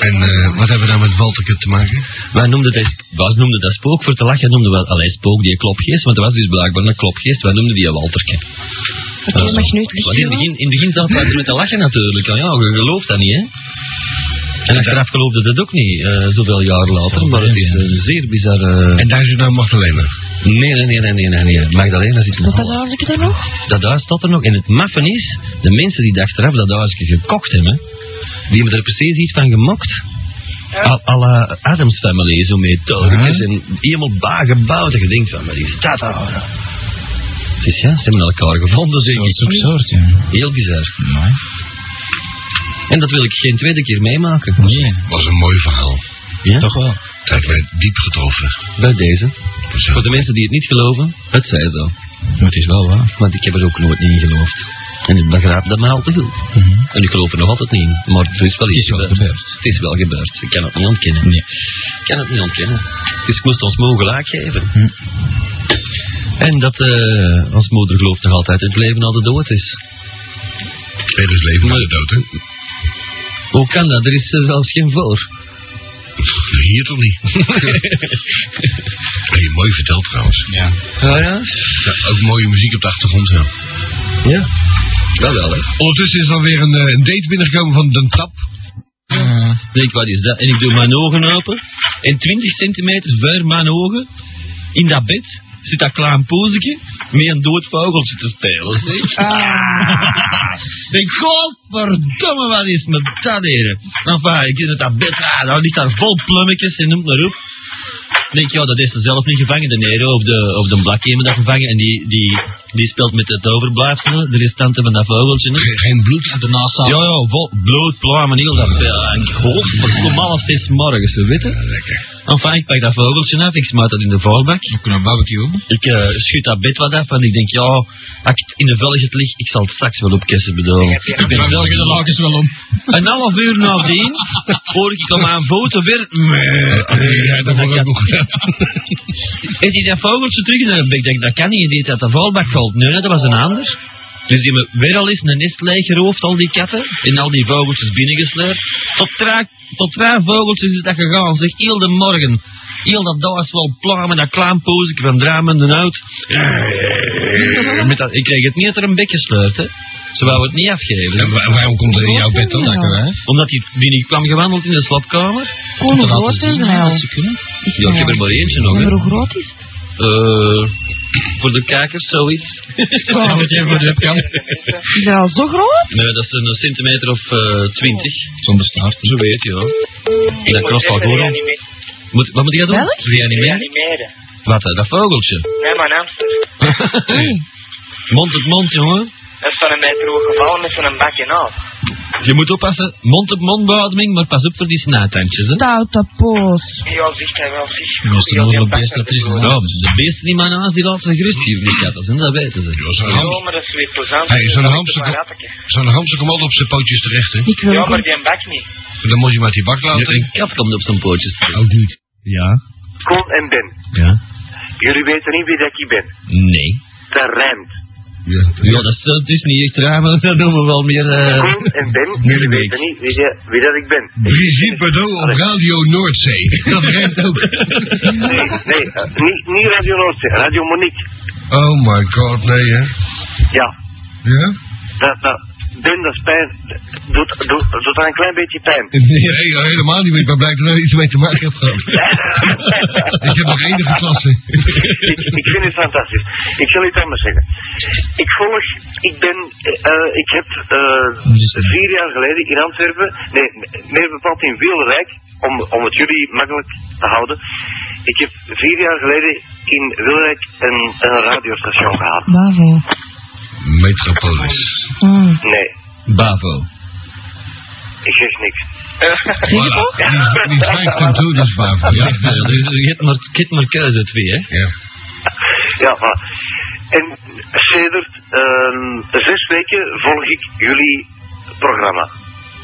A: En eh, wat hebben we nou met Walterke te maken?
B: Wij noemden dat, wij noemden dat spook voor te lachen, noemden we allee, spook die klopgeest, want dat was dus blijkbaar een klopgeest, wij noemden die Walterke.
C: Oké, mag nu het licht
B: Want in het
C: doen?
B: begin, in het begin zaten wij er met te lachen natuurlijk, ja, ja, je gelooft dat niet hè. En achteraf geloofde dat ook niet, eh, zoveel jaar later, maar het is een zeer bizarre...
A: En daar is het nou Magdalena.
B: Nee, nee, nee, nee, nee, nee, nee. Magdalena zit in
C: Wat
B: Holland.
C: dat eigenlijk dan nog?
B: Dat huis staat er nog. En het maffen is, de mensen die dat achteraf dat huisje gekocht hebben, die hebben er precies iets van gemokt. Al à la Adams Family, zo mee togen.
A: Ja.
B: En helemaal baar gebouwd. En je denkt van, maar die staat daar. is, Dus ja. Ze hebben elkaar gevonden, zeg ik.
G: Soort op soort, ja.
B: Heel bizar.
G: Mooi.
B: En dat wil ik geen tweede keer meemaken.
G: Nee,
A: was een mooi verhaal.
B: Ja?
G: toch wel.
A: Dat heeft mij diep getroffen.
B: Bij deze.
A: Dat was heel
B: Voor de mensen die het niet geloven, het zij zo.
G: Maar het is wel waar.
B: Want ik heb er ook nooit niet in geloofd. En ik begrijp dat mij al te goed.
A: Mhm.
B: En ik geloof er nog altijd niet in. Maar er is wel
G: Het
B: iets
G: is wel gebeurd.
B: Het is wel gebeurd. Ik kan het niet ontkennen.
G: Nee.
B: Ik kan het niet ontkennen. Dus ik moest ons moe gelijk geven.
A: Mhm.
G: Hm.
B: En dat eh, ons moeder gelooft nog altijd in het leven al de dood is.
A: Nee, dat is leven na de dood, hè?
B: Hoe kan dat? Er is er zelfs geen voor.
A: Hier toch niet? Heb je mooi verteld trouwens.
G: Ja.
B: Ah ja?
A: Ja, ook mooie muziek op de achtergrond. Ja.
B: Ja. Wel wel hè.
A: Ondertussen is alweer een, eh, een date binnengekomen van Den Tap.
B: Denk wat is dat? En Ah. ik doe mijn ogen open. En 20 centimeter ver mijn ogen, in dat bed, zit dat klein poezetje met een dood vogeltje te spelen. zeg. Ik godverdomme, wat is met dat hier? Enfin, ik zit uit dat bed, ah, daar ligt daar vol plummetjes en noemt maar op. Ik denk, ja, dat is er zelf niet gevangen, de Nero of de, of de Blakkemen dat gevangen. En die, die, die speelt met het overblijfselen, de restanten van dat vogeltje. hè.
A: Ge- geen bloed. En daarna
B: Ja, ja, vol, bloot, pluimen, heel dat veel. En ik hoop, ik kom half zes morgens, weet je.
A: lekker.
B: Enfin, ik pak dat vogeltje af, ik smijt dat in de vuilbak.
G: We kunnen barbecue.
B: Ik eh, schud dat bed wat af, want ik denk, ja, als ik het in de velget lig, ik zal het straks wel opkussen, bedoel. Ik ben wel
G: de lakens wel om.
B: Een half uur nadien, hoor ik op mijn voeten weer...
A: Eh, Ja, dat wordt ook nog gedaan.
B: En die dat vogeltje terug in de bek, Ik denk, dat kan niet, die heeft uit de vuilbak gehaald. Nee, nee, dat was een ander. Dus die hebben weer al eens een nest leeggeroofd, al die katten. En al die vogeltjes binnengesleurd. Tot, tra- tot vijf vogeltjes is dat gegaan, zeg, heel de morgen. Heel dat daar is wel plaam en dat klaampoosje van draam en de uit. Met dat, ik kreeg het niet uit haar een bek gesleurd, hè. Ze wou het niet afgeven.
A: En wa- waarom komt er in jouw bed dan?
C: Ja.
G: Lekker hè?
B: Omdat hij binnen kwam gewandeld in de slaapkamer.
C: Oh, hoe groot zijn ze nou?
G: ze kunnen.
C: Ik
B: Ja, ik heb er maar eentje nog, hè.
C: Maar hoe groot is het?
B: Eh, voor de kijkers, zoiets.
C: Oh, is dat al zo groot?
B: Nee, dat is een centimeter of eh, twintig.
G: Zonder staart.
B: Zo weet je, ja.
F: Ik
B: Dat
F: moet
B: klopt wel
F: even
B: goed, hoor.
F: reanime-
B: Moet, wat moet je doen?
C: Welk?
B: Reanimeren?
F: Reanimeren.
B: Wat, hè, dat vogeltje?
F: Nee, mijn hamster.
B: Mond op mond, jongen.
F: Dat is van een meter hoog gevallen met zo'n bakje naald.
B: Je moet oppassen. Mond op mond beademing, maar pas op voor die snuithandjes, hè.
C: Stoute poos.
F: Ja, zicht hij wel, zicht.
G: Je was er wel een beest dat is.
B: Ja, de beesten die mijn naast, die laten ze gerust hier, die katten, hè, dat weten ze.
A: Ja, zo'n ham-
F: Ja, maar dat is weer plezant.
A: Hey, zo'n
F: Dat is
A: hamster-
F: een rattetje.
A: Zo'n hamster komt altijd op zijn pootjes terecht, hè?
C: Ik wil
F: Ja,
C: ook
F: maar
C: een
F: die bak niet.
A: Dan moet je maar die bak
B: Ja,
A: laten. Oh,
B: een kat komt op zijn pootjes.
A: Ook niet.
B: Ja.
H: Kool en Ben.
B: Ja.
H: Jullie weten niet wie dat ik ben.
B: Nee.
H: Dat rijmt.
A: Ja,
B: Ja, dat is, dat is niet echt raar, maar dat doen we wel meer... eh
H: Kool en Ben,
B: nu
H: jullie
B: weet
H: weten niet wie, dat- wie dat ik ben.
A: Brigitte Bardot op Radio Noordzee. Dat remt ook.
H: Nee, nee, eh, niet, niet Radio Noordzee, Radio Monique.
A: Oh my god, nee hè.
H: Ja,
A: Ja?
H: dat, dat, Ben, dat is pijn. Doet, doet, doet dat een klein beetje pijn.
A: Nee, helemaal niet. Ik ben blij dat er iets mee te maken hebt gehad.
B: Dus
A: Ik heb nog enige klasse.
H: ik, ik vind het fantastisch. Ik zal iets anders zeggen. Ik volg, ik ben, eh, ik heb eh, vier jaar geleden in Antwerpen, nee, meer bepaald in Wielrijk, om, om het jullie makkelijk te houden. Ik heb vier jaar geleden in Wielrijk een, een radiostation gehad.
C: Bravo.
A: Metropolis.
C: Mm.
H: Nee,
B: Bavo.
H: ik zeg niks.
A: Voilà. Die vijf komt toe, dat is Bavo.
B: Ja,
A: Ja,
B: dus je hebt maar, je hebt maar keuze twee, hè.
A: ja.
H: Ja, maar. En sedert ehm, zes weken volg ik jullie programma.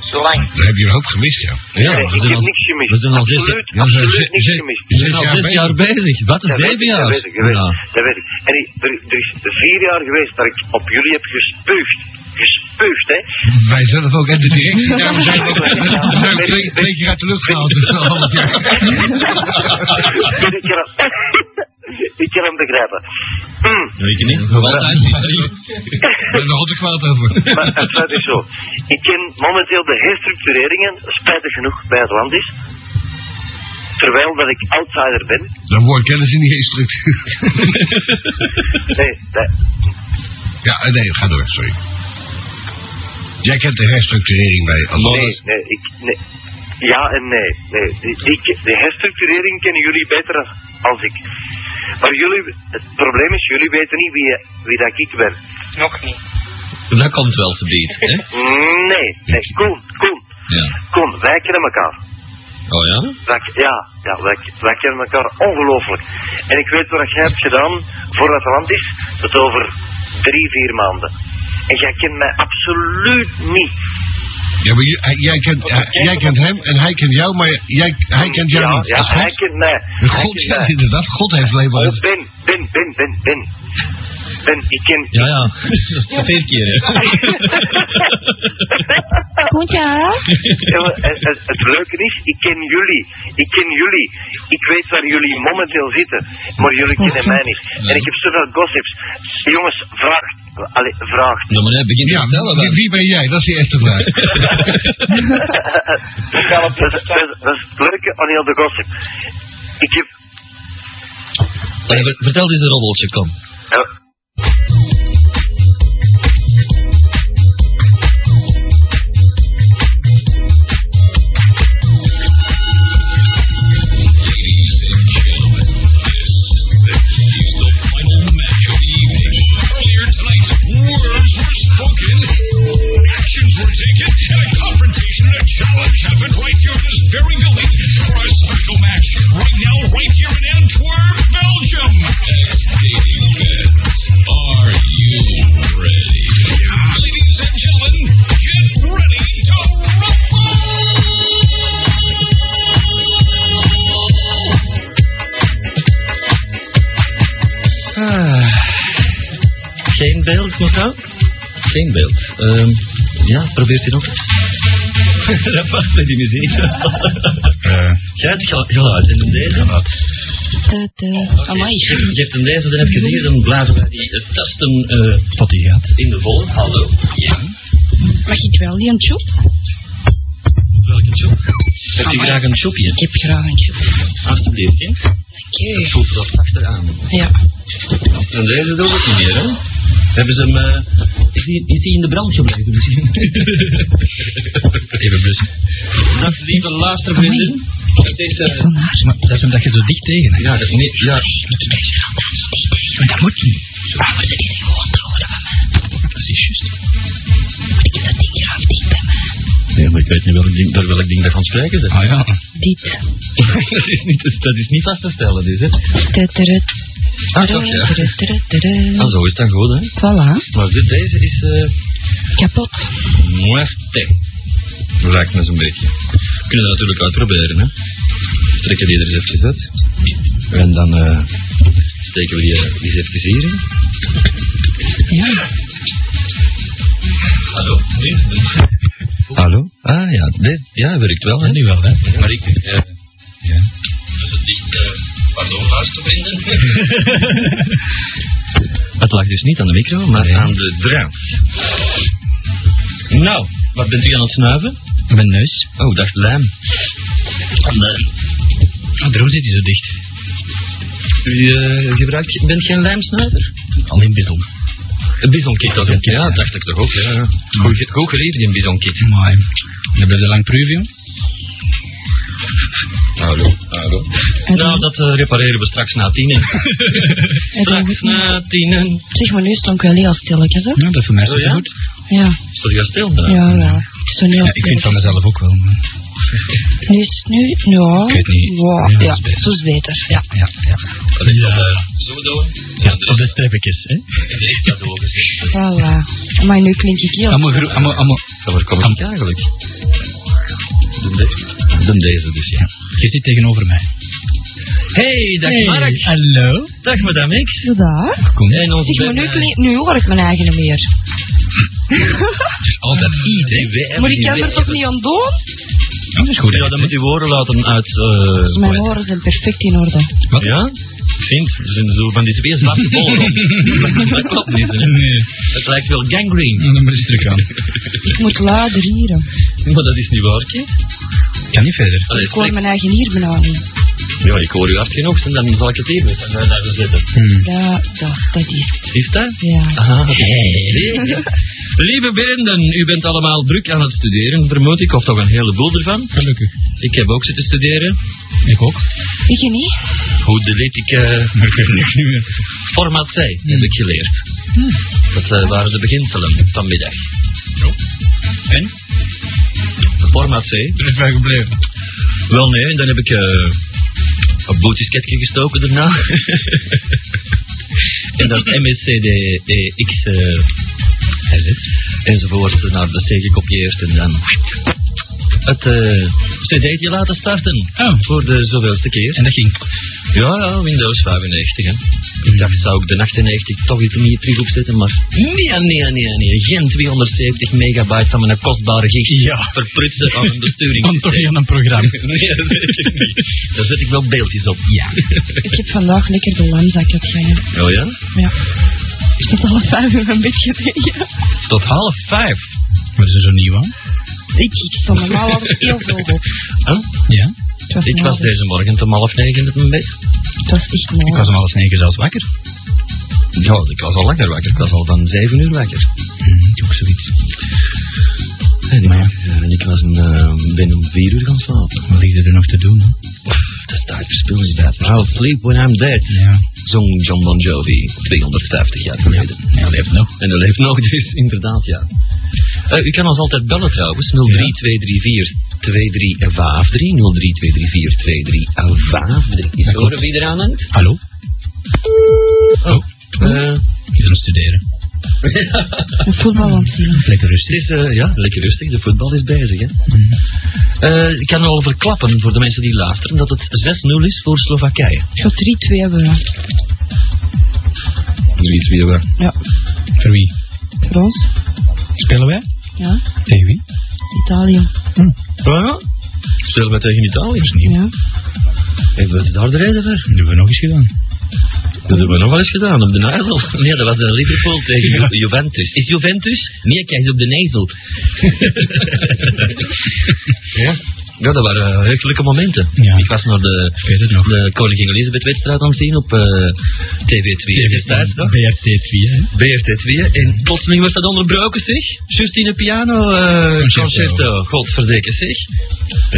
F: Zolang.
A: Dan heb je een hoop gemist, ja.
B: Ja, we
H: Nee, ik
B: zijn
H: heb
B: al-
H: niks gemist.
B: we zijn al zes-
H: absoluut,
A: ja, we zijn
H: absoluut
A: ze-
H: niks
A: ze-
H: gemist.
B: We zijn al
A: Ja,
B: zes
A: bezig.
B: jaar bezig. Wat een
H: Dat weet, ik,
B: babyjaar.
H: dat weet ik, dat weet ik.
B: Ja.
H: Dat weet ik. En ik- er, er is vier jaar geweest dat ik op jullie heb gespuugd. Gespuugd, hè.
A: Wij zelf ook. En de directie, daarom zijn we ook we zijn ook twee, twee keer uit de lucht gehaald. Dus een half jaar.
H: Dus ik, kan hem, ik kan hem begrijpen. Mm,
B: Weet je niet?
A: Altijd. Ik ben er altijd kwaad over.
H: maar het feit is zo. Ik ken momenteel de herstructureringen, spijtig genoeg, bij het land is. Terwijl dat ik outsider ben.
A: Dan wordt kennis in die hele structuur.
H: Nee, dat-
A: Ja, eh, nee, ga door, sorry. Jij kent de herstructurering bij
H: nee,
A: Alanis.
H: nee, ik, nee. Ja en nee. nee. Die, die, de herstructurering kennen jullie beter als, als ik. Maar jullie, het probleem is, jullie weten niet wie, wie dat ik ben.
F: Nog niet.
B: Dat komt wel te bieden, hè?
H: Nee, nee, kom, kom,
B: Ja.
H: kom, wij kennen elkaar.
B: Oh ja?
H: Wij, ja, ja wij, wij kennen elkaar ongelooflijk. En ik weet wat jij hebt gedaan voor Atlantis, tot over drie, vier maanden. En jij kent mij absoluut niet.
A: Ja, maar j- hij- jij kent, eh, hij- jij kent hem en hij kent jou, maar jij, hij kent jou
H: ja,
A: niet.
H: ja,
A: Dat is
H: hij
A: God.
H: kent mij. Hij
A: God,
H: kent
A: ja,
H: mij.
A: inderdaad, God heeft
H: Oh,
A: labels.
H: Ben, Ben, Ben, Ben, Ben. Ben, ik ken...
B: Ja, ja. Vier keer, hè?
C: Goed ja?
H: Ja, maar eh, het, het- het leuke is, ik ken jullie. Ik ken jullie. Ik weet waar jullie momenteel zitten. Maar jullie kennen mij niet. En ik heb zoveel gossips. Jongens, vraag... Allee, vraag.
B: Nou, maar hij begint
A: Ja, wie, wie ben jij? Dat is de eerste vraag.
H: dat, is, dat is- dat is het leuke aan heel de gossip. Ik heb...
B: Vertel eens een roddeltje, kom.
H: eh,
B: Ah, Geen beeld, mevrouw? Geen beeld. Ehm, ja, probeert u nog. dat past bij die muziek.
A: Eh,
B: Jij hebt gel- geluid en dan deze.
C: Amai.
B: Je hebt- je hebt hem deze, dan heb je die, dan blijven wij die eh, tasten eh tot die gaat. in de vol. Hallo. Ja.
C: Mag ik wel die een tjoep?
B: Welke job? Heb je graag een shopje?
C: Ik heb graag een tjoep.
B: Alsjeblieft, kind.
C: Oké.
B: Dat voelt er al zachter aan.
C: Ja.
B: En deze doen we het niet meer, hè? Hebben ze hem. eh, is, hij, is hij in de brand gebleven misschien? Even blussen. Dag lieve luistervrienden. Het is. eh,
G: Maar dat is omdat je zo dicht tegen
B: ja, dat is niet. Ja.
G: Maar dat moet niet. Dat is juist.
B: Nee, maar ik weet niet welk ding, door welk ding daarvan spreken ze.
G: Ah ja.
C: Dit.
B: dat, is niet, te- dat is niet vast te stellen, dus, hè?
C: Tudurudu,
B: Ah, toch, ja.
C: tudurudu, tudurudu.
B: Ah, zo is dat goed, hè?
C: Voilà.
B: Maar dit, deze is. eh
C: Kapot.
B: Muerte. Lijkt me zo'n beetje. Kunnen we natuurlijk uitproberen, hè. Trekken die er eens eventjes uit. En dan eh, steken we die, eh, die eens eventjes hier in.
C: Ja.
B: Hallo? Hallo? Ah ja, dit, ja, werkt wel, hè. nu wel, hè. Maar ik... eh ja. eh, Pardon, luistervinden. Het lag dus niet aan de micro, maar aan de draad. Nou, wat bent u aan het snuiven? Mijn neus. Oh, dacht lijm. Ah, Daarom zit hij zo dicht. U eh, gebruikt, ge- bent geen lijmsnuiver? Alleen bison. Een bisonkit, dat is een Ja, dacht ik toch ook, ja. ja. Goed, ge- goed geleefd, die bisonkit. Mooi.
G: Hebben we lang preview?
B: Hallo, hallo. Nou, dat eh, repareren we straks na tienen. straks na tienen.
C: Zeg maar, nu stond ik wel heel stilletjes, hè?
G: Ja, dat is voor mij
B: Oh ja?
G: goed.
C: Ja.
B: Stond je stil?
C: Ja, wel. Het is zo heel
G: Ja, ik vind
C: stil.
G: van mezelf ook wel. maar-
C: Nu is nu... Ja.
G: Ik weet niet.
C: Wow,
G: Ja, dat
C: ja,
G: is beter.
C: zo is beter. Ja.
G: Ja, ja.
B: Dat is dan, eh, Zo door. Ja,
G: Op de streepjes, hè?
B: dat is dat ook.
C: Voilà. Maar nu klink ik heel...
G: Allemaal, gro- allemaal, allemaal.
B: Ja, waar kom ik eigenlijk? Dan de- Dan deze dus, ja.
G: Je zit tegenover mij.
B: Hey, dag
G: Hey,
B: Mark.
G: Hallo.
B: Dag madame X.
C: Vandaag?
G: Kom.
B: En onze
C: Zeg maar, nu,
B: Ben, eh,
C: klink, nu hoor ik mijn eigen meer.
G: Altijd.
B: Ah, die WM,
C: Maar ik
B: die
C: kan er
B: WM.
C: toch niet aan doen?
G: Dat is goed.
B: Ja, dan moet je woorden laten uit... eh,
C: Mijn horen zijn perfect in orde.
G: Wat?
B: Ja? Ik vind, er zijn zo van die twee zwarte bollen op. dat klopt niet, hè.
G: Nee.
B: Het lijkt wel gangrene.
G: Dan moet je terug gaan.
C: Ik moet luider hieren.
B: Maar dat is niet waar, kind.
G: Kan niet verder.
B: Allee,
C: Ik hoor
B: slecht.
C: mijn eigen hier bijna niet.
B: Ja, ik hoor u hard genoeg, en dan zal ik het hier met en daar zetten.
A: Hmm.
C: Ja, dat, dat is.
B: Is dat?
C: Ja.
B: Ah, nee. Lieve vrienden, u bent allemaal druk aan het studeren, vermoed ik, of toch een heleboel ervan.
G: Gelukkig.
B: Ik heb ook zitten studeren.
G: Ik ook.
C: Ik je niet?
B: Hoe deleet ik eh,
G: Maar ik weet het niet meer.
B: format zij, heb ik geleerd. Dat eh, waren de beginselen vanmiddag.
G: En?
B: Format zij.
G: Er is bij gebleven.
B: Wel nee, en dan heb ik eh een boetisketje gestoken daarna. en dan E MSCDX eh herzet. enzovoort naar de C gekopieerd en dan het eh cd'tje laten starten
G: Oh.
B: voor de zoveelste keer.
G: En dat ging.
B: Ja, ja, Windows 95. Hè. Ik dacht, zou ik de 98 toch iets niet terug opzetten, maar nee, nee, nee, nee. Geen 270 megabyte van mijn kostbare gig ja. verprutsen aan een besturing.
G: Van toch niet aan een programma.
B: Nee, dat weet ik niet. Daar zet ik wel beeldjes op. Ja.
C: Ik heb vandaag lekker de lamzak uitgehaald.
B: Oh ja?
C: Ja. Tot alle vijf uur een beetje tegen.
B: Tot half vijf.
G: Maar is
B: dus
G: er zo nieuw aan?
C: Ik, ik stond normaal altijd heel vroeg op.
B: Huh?
G: Ja.
C: Het was,
B: Ik was
C: nodig.
B: deze morgen om half negen met mijn bed.
C: Het was echt
G: Ik
C: nodig.
G: was om half negen zelfs wakker.
B: Mhm. Ja, ik was al langer wakker. Ik was al van zeven uur wakker.
G: Mhm, Ook zoiets.
B: En ja, en ik was een, eh, ben om vier uur gaan slapen.
G: Wat ligt er nog te doen? Hè?
B: Dat staat verspil is dat. I'll sleep when I'm dead.
G: Ja.
B: Zong John Bon Jovi 250 jaar geleden.
G: Ja, leeft nog.
B: En dat leeft nog, dus inderdaad, ja. Eh, u kan ons altijd bellen trouwens, 03234 2353 03234 2353. Is
G: Ja,
B: het
G: klopt.
B: horen wie eraan hangt?
G: Hallo?
B: Oh. Eh,
G: Je bent studeren.
C: Een voetbal aan het zien.
G: Lekker
B: het
G: rustig.
B: is eh, ja, lekker rustig, de voetbal is bezig. Hè?
G: Mhm.
B: Eh, ik kan al verklappen voor de mensen die luisteren dat het 6-0 is voor Slowakije.
C: Ik zou 3-2 hebben. hè.
B: Jullie twee waar?
C: Ja.
G: Voor wie?
C: Voor ons?
G: Spelen wij?
C: Ja.
G: Tegen wie?
C: Italië.
B: Ja. Ah, Spelen we tegen Italië?
C: Ja.
B: Hebben we daar de reden voor?
G: Dat hebben we nog eens gedaan.
B: Dat hebben we nog wel eens gedaan, op de Nijzel. Nee, dat was in Liverpool tegen Ju- Juventus. Is Juventus? Nee, kijk eens op de Nijzel. ja? Ja, dat waren eh, heugelijke momenten.
G: Ja.
B: Ik was naar de,
G: Ik weet het nog.
B: de Koningin Elisabeth-wedstrijd aan het zien op eh, TV2 destijds nog.
G: BRT2, hè?
B: BRT2 en plotseling werd dat onderbroken zeg. Justine Piano eh,
G: Concerto.
B: concerto, godverdeken eh, zeg.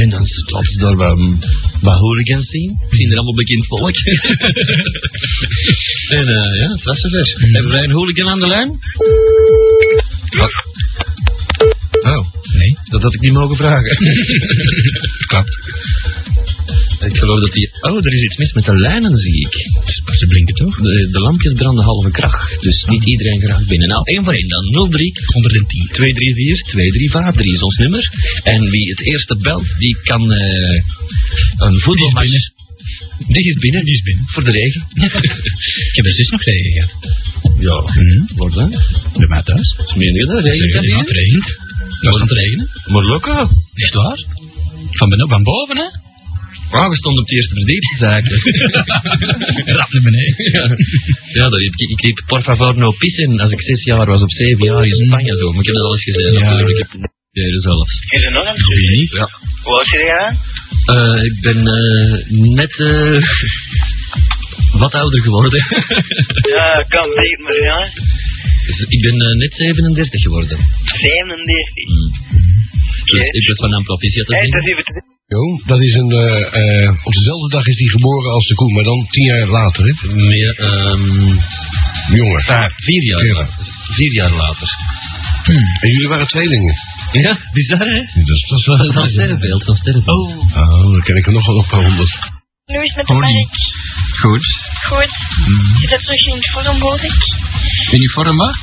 B: En dan laten ze daar wat, ehm, wat hooligans zien. Zien er allemaal bekend volk. en eh, ja, het was zover. Hebben wij een hooligan aan de lijn? Wat? Oh,
G: Nee.
B: dat had ik niet mogen vragen. Klap. Ik geloof dat die... Oh, er is iets mis met de lijnen, zie ik.
G: Maar ze blinken toch?
B: De, de lampjes branden halve kracht, dus niet iedereen graag binnen. Nou, één voor één dan. 03 110 234 2353 is ons nummer. En wie het eerste belt, die kan eh, een voetbalmatch... Die is binnen. Die is binnen.
G: Die is binnen.
B: Voor de regen.
G: Ik heb er dus nog regen gehad.
B: ja, wordt dan.
G: Mhm. De maat thuis.
B: Meen je dat? Regen kan
G: Ja, het
B: hier?
G: regent. Dat gaat regenen.
B: Maar lokaal.
G: Echt waar? Van, beneden, van boven, hè?
B: Ah, we stonden op de eerste verdieping eigenlijk.
G: Rap naar beneden.
B: ja, ja dat riep ik. Ik riep por favor no pissen als ik zes jaar was, op zeven jaar in Spanje zo. Maar ik heb dat alles gezegd.
G: Ja.
B: natuurlijk. Ik heb het gezegd zelfs.
F: Is er nog een?
B: Ja.
F: Hoe oud ben jij dan?
B: Eh, ik ben eh, net eh, wat ouder geworden.
F: Ja, kan tegen maar ja.
B: Dus ik ben eh, net 37 geworden.
F: 37.
B: Dus
F: Oké.
B: ik ben van een proficiat.
F: Hey, dat is even te
A: Jo, dat is een, eh, eh, op dezelfde dag is hij geboren als de koe, maar dan tien jaar later, hè?
B: Meer, ehm,
A: Jongen.
B: vijf, vier jaar
A: Ja.
B: later. Vier jaar later.
A: Hmm. En jullie waren tweelingen.
B: Ja, bizar hè?
A: Dus dat is wel
B: Van sterrenbeeld, van sterrenbeeld.
A: Oh, dan ken ik er nog wel op een honderd.
E: Nu is het met de markt.
G: Goed.
E: Goed. Je zit terug in vorm, hoor ik.
G: Uniform, wat?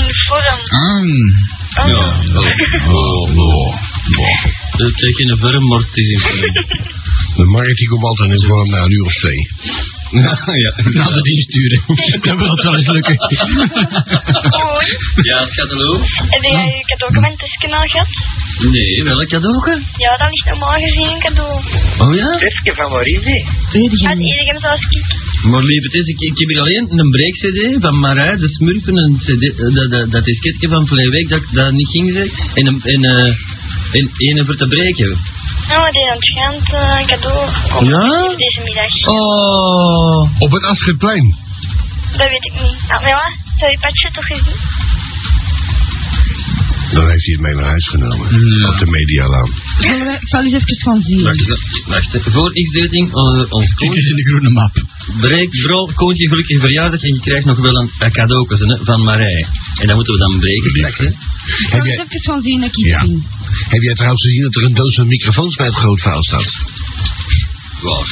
E: In vorm.
B: Ah.
G: Mm.
E: Oh,
B: Ja, wel.
A: Oh, oh.
B: Het is geen vorm, maar het is in vorm.
A: De markt die komt altijd in vorm na een uur of twee.
B: ja.
G: Nou, dat insturen. dat wil het wel eens lukken.
E: Hoi.
B: Ja, het cadeau?
E: Heb jij je cadeau met het kanaal gehad?
B: Nee, welk cadeau?
E: Ja, dat ligt normaal gezien een cadeau.
B: Oh ja?
F: Terske van waar is die?
C: Weet je
E: Uit
C: niet.
E: iedereen zoals ik.
B: Maar lief, het is, ik, ik heb hier alleen een break-cd van Marij, de Smurfen, een cd, eh, dat, dat, dat disketje van vorige week dat, dat niet ging zeg, en, een- en, eh, en, en een voor te breken.
E: Ja, we deden aan het schand eh, cadeau gekocht
B: Ja?
E: deze middag.
B: Oh.
A: Op het Astridplein.
E: Dat weet ik niet. Ah, maar ja, zou je patje toch eens doen?
A: Dan heeft hij het mee naar huis genomen. Op de medialaan.
C: Ik zal eens even van zien.
B: Wacht, wacht, hè. voor X-dating, eh, ons
G: Dit
B: koentje,
G: is in de groene map.
B: breek vooral Koontje gelukkig verjaardag en je krijgt nog wel een eh, cadeautje hè, van Marij. En dat moeten we dan breken straks, hè.
C: Ik
A: Heb
C: zal eens
A: jij,
C: even van zien dat ik
A: Ja.
C: iets zie.
A: heb jij trouwens gezien dat er een doos met microfoons bij het grootvaal staat?
B: Waar?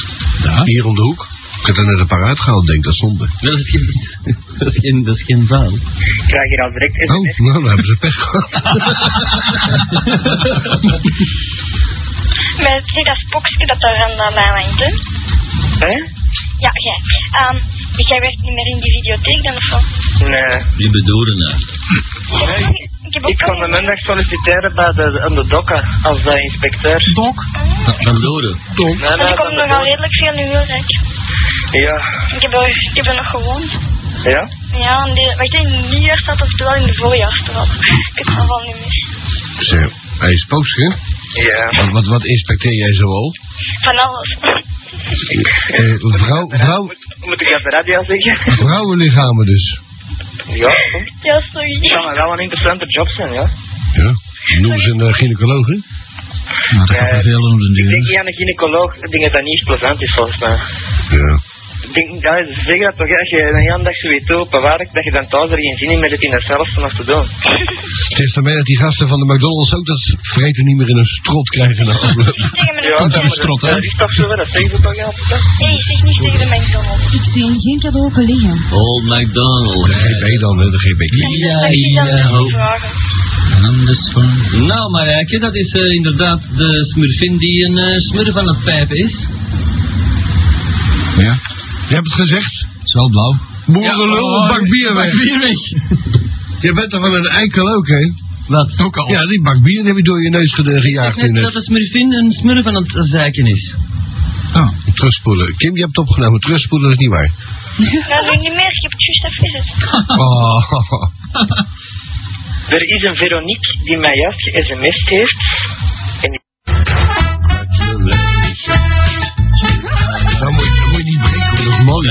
A: Hier om de hoek. Ik heb dat net apparaat gehaald, denk ik, dat stond er.
B: Nee, Dat is geen, dat is geen, dat is geen zaal.
F: Ik krijg hier al direct
A: Oh,
F: internet.
A: nou, dan hebben ze pech gehad.
E: Met zie dat spookje dat daar aan eh, mij hangt, hè?
F: Hè?
E: Ja, jij. Ehm, jij werkt niet meer in die videotheek dan of zo?
F: Nee.
B: Je bedoelde nou.
E: Ik heb ook
F: Ik kan de
E: al-
F: maandag solliciteren bij de, aan de dokken als eh, inspecteur.
G: Dok.
B: Van- Van Doren.
F: Nee, nee,
E: En ik kom
F: van de
E: nogal
F: dok.
E: redelijk veel nu heel rijk.
F: Ja.
E: Ik heb, er, ik heb er nog gewoond.
F: Ja?
E: Ja, en die, wacht, in het nieuwjaar staat of wel in de voorjaar staat. Ik weet het al niet meer.
A: Zeg, hij is Poopske.
F: Ja.
A: Wat, wat, wat inspecteer jij zoal?
E: Van alles.
A: Eh, vrouw, vrouw,
F: Moet ik dat de radio zeggen?
A: vrouwenlichamen dus.
F: Ja, kom.
E: Ja, sorry.
F: Het kan maar wel een interessante job zijn, ja.
A: Ja. Noem ze een eh, gynaecoloog, hè?
G: Nou, dat gaat er veel om de
F: Ik denk
G: duur.
F: niet aan een gynaecoloog, ik denk dat dat niet plezant is volgens mij.
A: Ja.
F: Ik denk, ja, ze zeggen dat toch, hè, als je een hele dag zoiets doet op een werk, dat je dan thuis er geen zin in meer hebt in dat zelf vanaf te doen.
A: Het is daarmee dat die gasten van de McDonald's ook dat vreten niet meer in hun strot krijgen. Nou, na afloop.
E: Tegen mijn
F: Ja,
G: dat is
F: maar
G: strot, hè?
F: Dat is toch zo, hè, dat zeggen ze toch altijd, hè?
E: Nee, ik zeg niet tegen de McDonald's.
C: Ik zie geen cadeau liggen.
B: Old MacDonald.
A: De GB dan, hè, de GB.
B: Ja,
E: Dat is dan
B: ja,
E: niet
B: ho.
E: vragen.
G: Anders van.
B: Nou, Marijke, dat is eh, inderdaad de smurfin die een eh, smurf aan het pijpen is.
G: Ja,
A: Je hebt het gezegd.
G: het is wel blauw.
A: Boerenlul,
G: oh,
A: bak bier weg.
G: Weer weg.
A: Je bent er van een eikel ook, hè?
B: Wat?
G: Ook al.
A: Ja, die bak bier die heb je door je neus ge-
B: Ik
A: gejaagd.
B: net
A: in eh,
B: dat
A: het
B: de smurfin een smurf aan het zeiken is.
G: Ah.
A: Oh. terugspoelen. Kim, je hebt het opgenomen. Terugspoelen is niet waar.
E: Nou, doe ik niet meer. Ik heb het juist even gezet.
A: Oh,
F: Er is een Veronique die mij juist ge-sms'd heeft. En die-
A: Dan moet, je- dan moet je niet breken, want dat is mooi.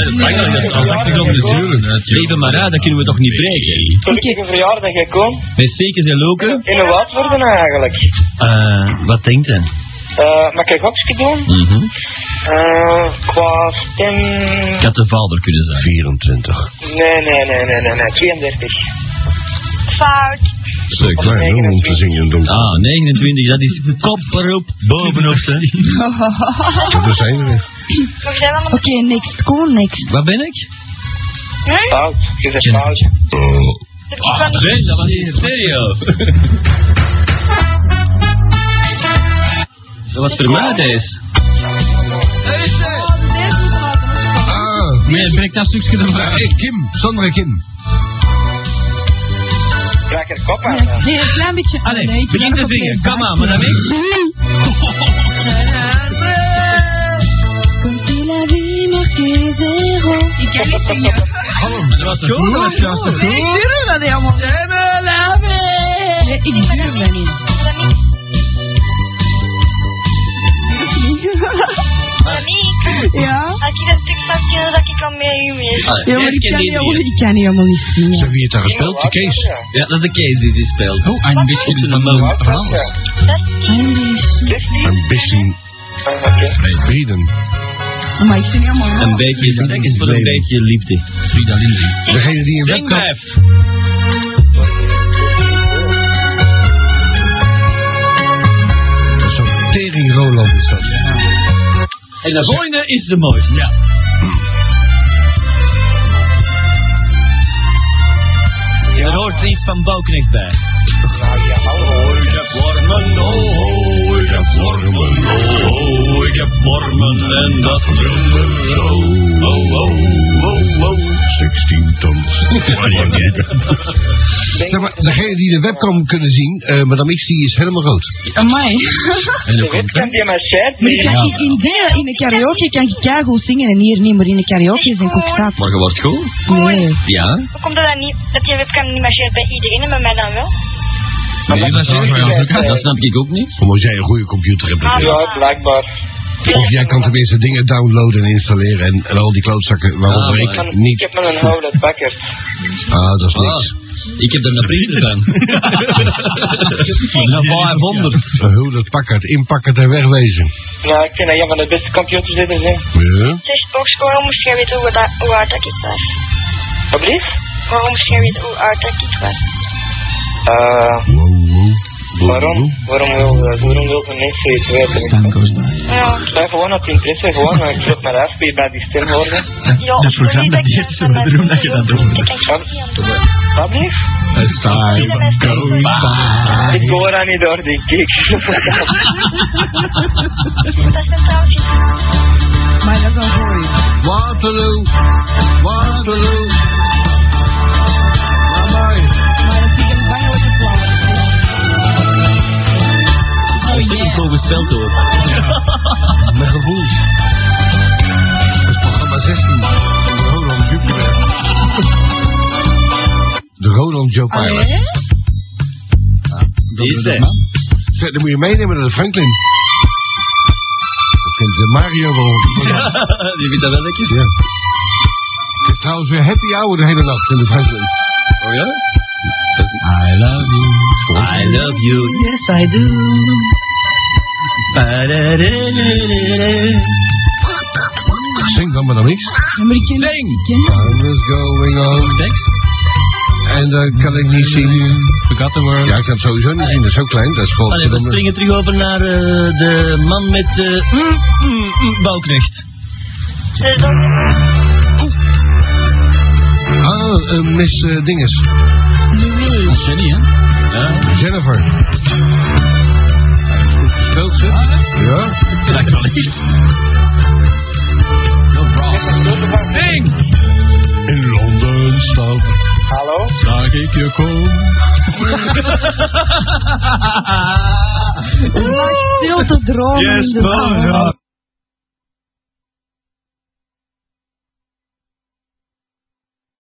B: Lieve Marij, dat kunnen we toch niet breken?
F: Zal ik op een verjaardag hè, komen?
B: Met stekers en loken?
F: En hoe oud worden eigenlijk?
B: Eh, wat denkt hij?
F: Eh mag ik gokje doen?
B: Mhm.
F: Eh qua stem...
B: Ik had de vader kunnen zijn.
A: 24.
F: Nee, nee, nee, nee, nee, nee, 32.
E: Fout.
A: Zo klaar, eh, hè, om te zingen in donker.
B: Ah, 29, dat is kop erop, bovenop ze.
A: Daar zijn we weer.
E: Maar we zijn allemaal...
C: Oké, niks. Gewoon niks.
B: Wat ben ik?
E: Hm?
F: Fout, je zegt fout.
A: Oh.
E: Dat ik van
B: Ben, Ah, dat was in stereo. Dat was voor mij deze.
A: Ah,
G: Nee, brek dat stukje
A: maar,
G: erbij.
A: hey, Kim. Sandra Kim.
F: Krijg er kop aan. hè.
C: Nee, een klein beetje.
B: Allee,
C: Nee, ik
B: begin
C: ben
B: te
C: nog
B: zingen.
C: op
B: Kom aan, madame.
C: Comme si la vie marquait zéro. Ik kan niet zingen.
A: Hallo. Dat was
C: Eh,
B: goed, dat was juist goed.
C: Ik durf dat niet allemaal. Jij me laven. Nee, ik durf dat niet.
E: Veronique.
C: Ja?
E: Als ik dat stuk zou kennen, dat ik al mee mee.
B: Ah,
C: Ja, maar
B: deze
C: ik
B: ken
C: kan
B: die
C: niet allemaal,
B: niet.
C: ik kan niet allemaal niet
A: Zeg
C: zingen.
A: wie het daar gespeeld? De Kees.
B: Ja, dat is de Kees die die speelt.
G: Oh, een beetje
B: Goed,
G: van
B: een
G: de
B: man.
G: veranderd.
E: Dat is niet.
A: Een bisschen
F: Ah, oké.
A: Brieden.
C: Maar ik zing helemaal
B: Een beetje, dat is voor een beetje liefde.
G: Frida Lindy.
A: Degene die een
B: Denk
A: webcam...
B: blijft.
A: Zo'n tering Roland is dat.
B: En de volgende is de mooiste. Ja. Er hoort iets van Bouknecht bij.
F: Nou ja, hallo.
B: Ik heb wormen, oh, oh, ik heb wormen, oh, oh, ik heb wormen en dat brummen, oh, oh, oh, oh, oh.
A: 16 ton. Zeg maar, degene die de webcam kunnen zien, eh Madame X, die is helemaal rood.
C: Amai.
B: En
F: De
B: dan komt
F: webcam die mij scheidt,
C: Maar
F: nee.
C: ik kan niet in, de, in de karaoke kan ik keigoed zingen en hier niet, maar e in de karaoke is een kokstaat.
B: Maar je wordt goed?
C: Nee.
B: Ja.
E: Hoe komt dat dan niet? Dat je webcam niet marcheert bij iedereen en bij mij dan wel?
G: Nee, dat snap ik ook niet. Dat snap ik ook niet.
A: Omdat jij een goede computer hebt.
F: Ah,
A: natuurlijk.
E: Ja,
F: blijkbaar.
A: Of jij kan tenminste dingen downloaden en installeren en, en al die klootzakken waaronder
F: Ik,
A: Ah, ik
F: kan, ik
A: eh, niet.
F: heb mijn houden bakker.
A: Ah, dat is niks.
G: Ik heb er een printer van.
B: Een 500.
A: Een hulder pakken, inpakken en wegwezen.
F: Ja, ik vind dat een van de beste computers die er zijn.
A: Ja.
E: Zeg, ook waarom moest jij weten hoe, dat, hoe oud dat ik was?
F: Wat blieft?
E: Waarom moest jij weten hoe oud dat ik was?
F: Eh,
A: Wow, wow.
F: waarom? Waarom wil, eh, waarom wil de mensen zoiets weten?
E: Ja,
F: Ik blijf gewoon op de interesse, gewoon. eh, Ik loop maar af, kun je bij die stem horen?
E: ja
B: dus
E: ik wil niet dat je dat doet.
G: erom dat je dat doet.
E: Ik kan het niet aan doen.
F: Wat blieft?
G: It's time
E: goes
A: Ah,
F: Ik hoor dat niet door, denk ik.
E: Dat is een trouwtje.
C: Maar dat is wel voor u.
A: Waterloo, Waterloo. Maar mooi.
C: Maar dat zie ik een bangelijke plan. Oh yeah.
G: zo gespeld hoor.
A: Met gevoel. Het is programma 16 van de Roland Jupiler. De Roland Joe Pilot.
C: Allee?
G: Die is
A: dat
G: hij.
A: man. Zeg, Dan moet je meenemen naar de Franklin. Dat vindt eh, Mario wel.
G: Die vindt dat wel lekker.
A: Ja. Het is trouwens weer happy hour de hele nacht in de Franklin.
G: Oh ja? I love you. I love you. Yes, I do.
A: Zing dan maar dan niks.
C: Ja, Maar ik ken
G: Ding!
A: Time is going on.
G: Thanks.
A: En dan kan ik niet zien.
G: Forgot the world.
A: Ja, ik kan het sowieso niet zien. Dat is zo klein. Dat is gewoon...
B: Allee, we springen terug over naar eh, de man met de mm, mm, mm, bouwknecht.
E: Dus dan
A: Ah, eh, Miss eh, Dinges.
G: Dat is Jenny, hè? Ja.
A: Jennifer.
G: Speelt ze?
A: Ja?
G: Dat kan niet. Ding!
A: In Londen stad
F: Hallo?
G: Zag ik je komen.
C: het. Stil te dromen in de zaal.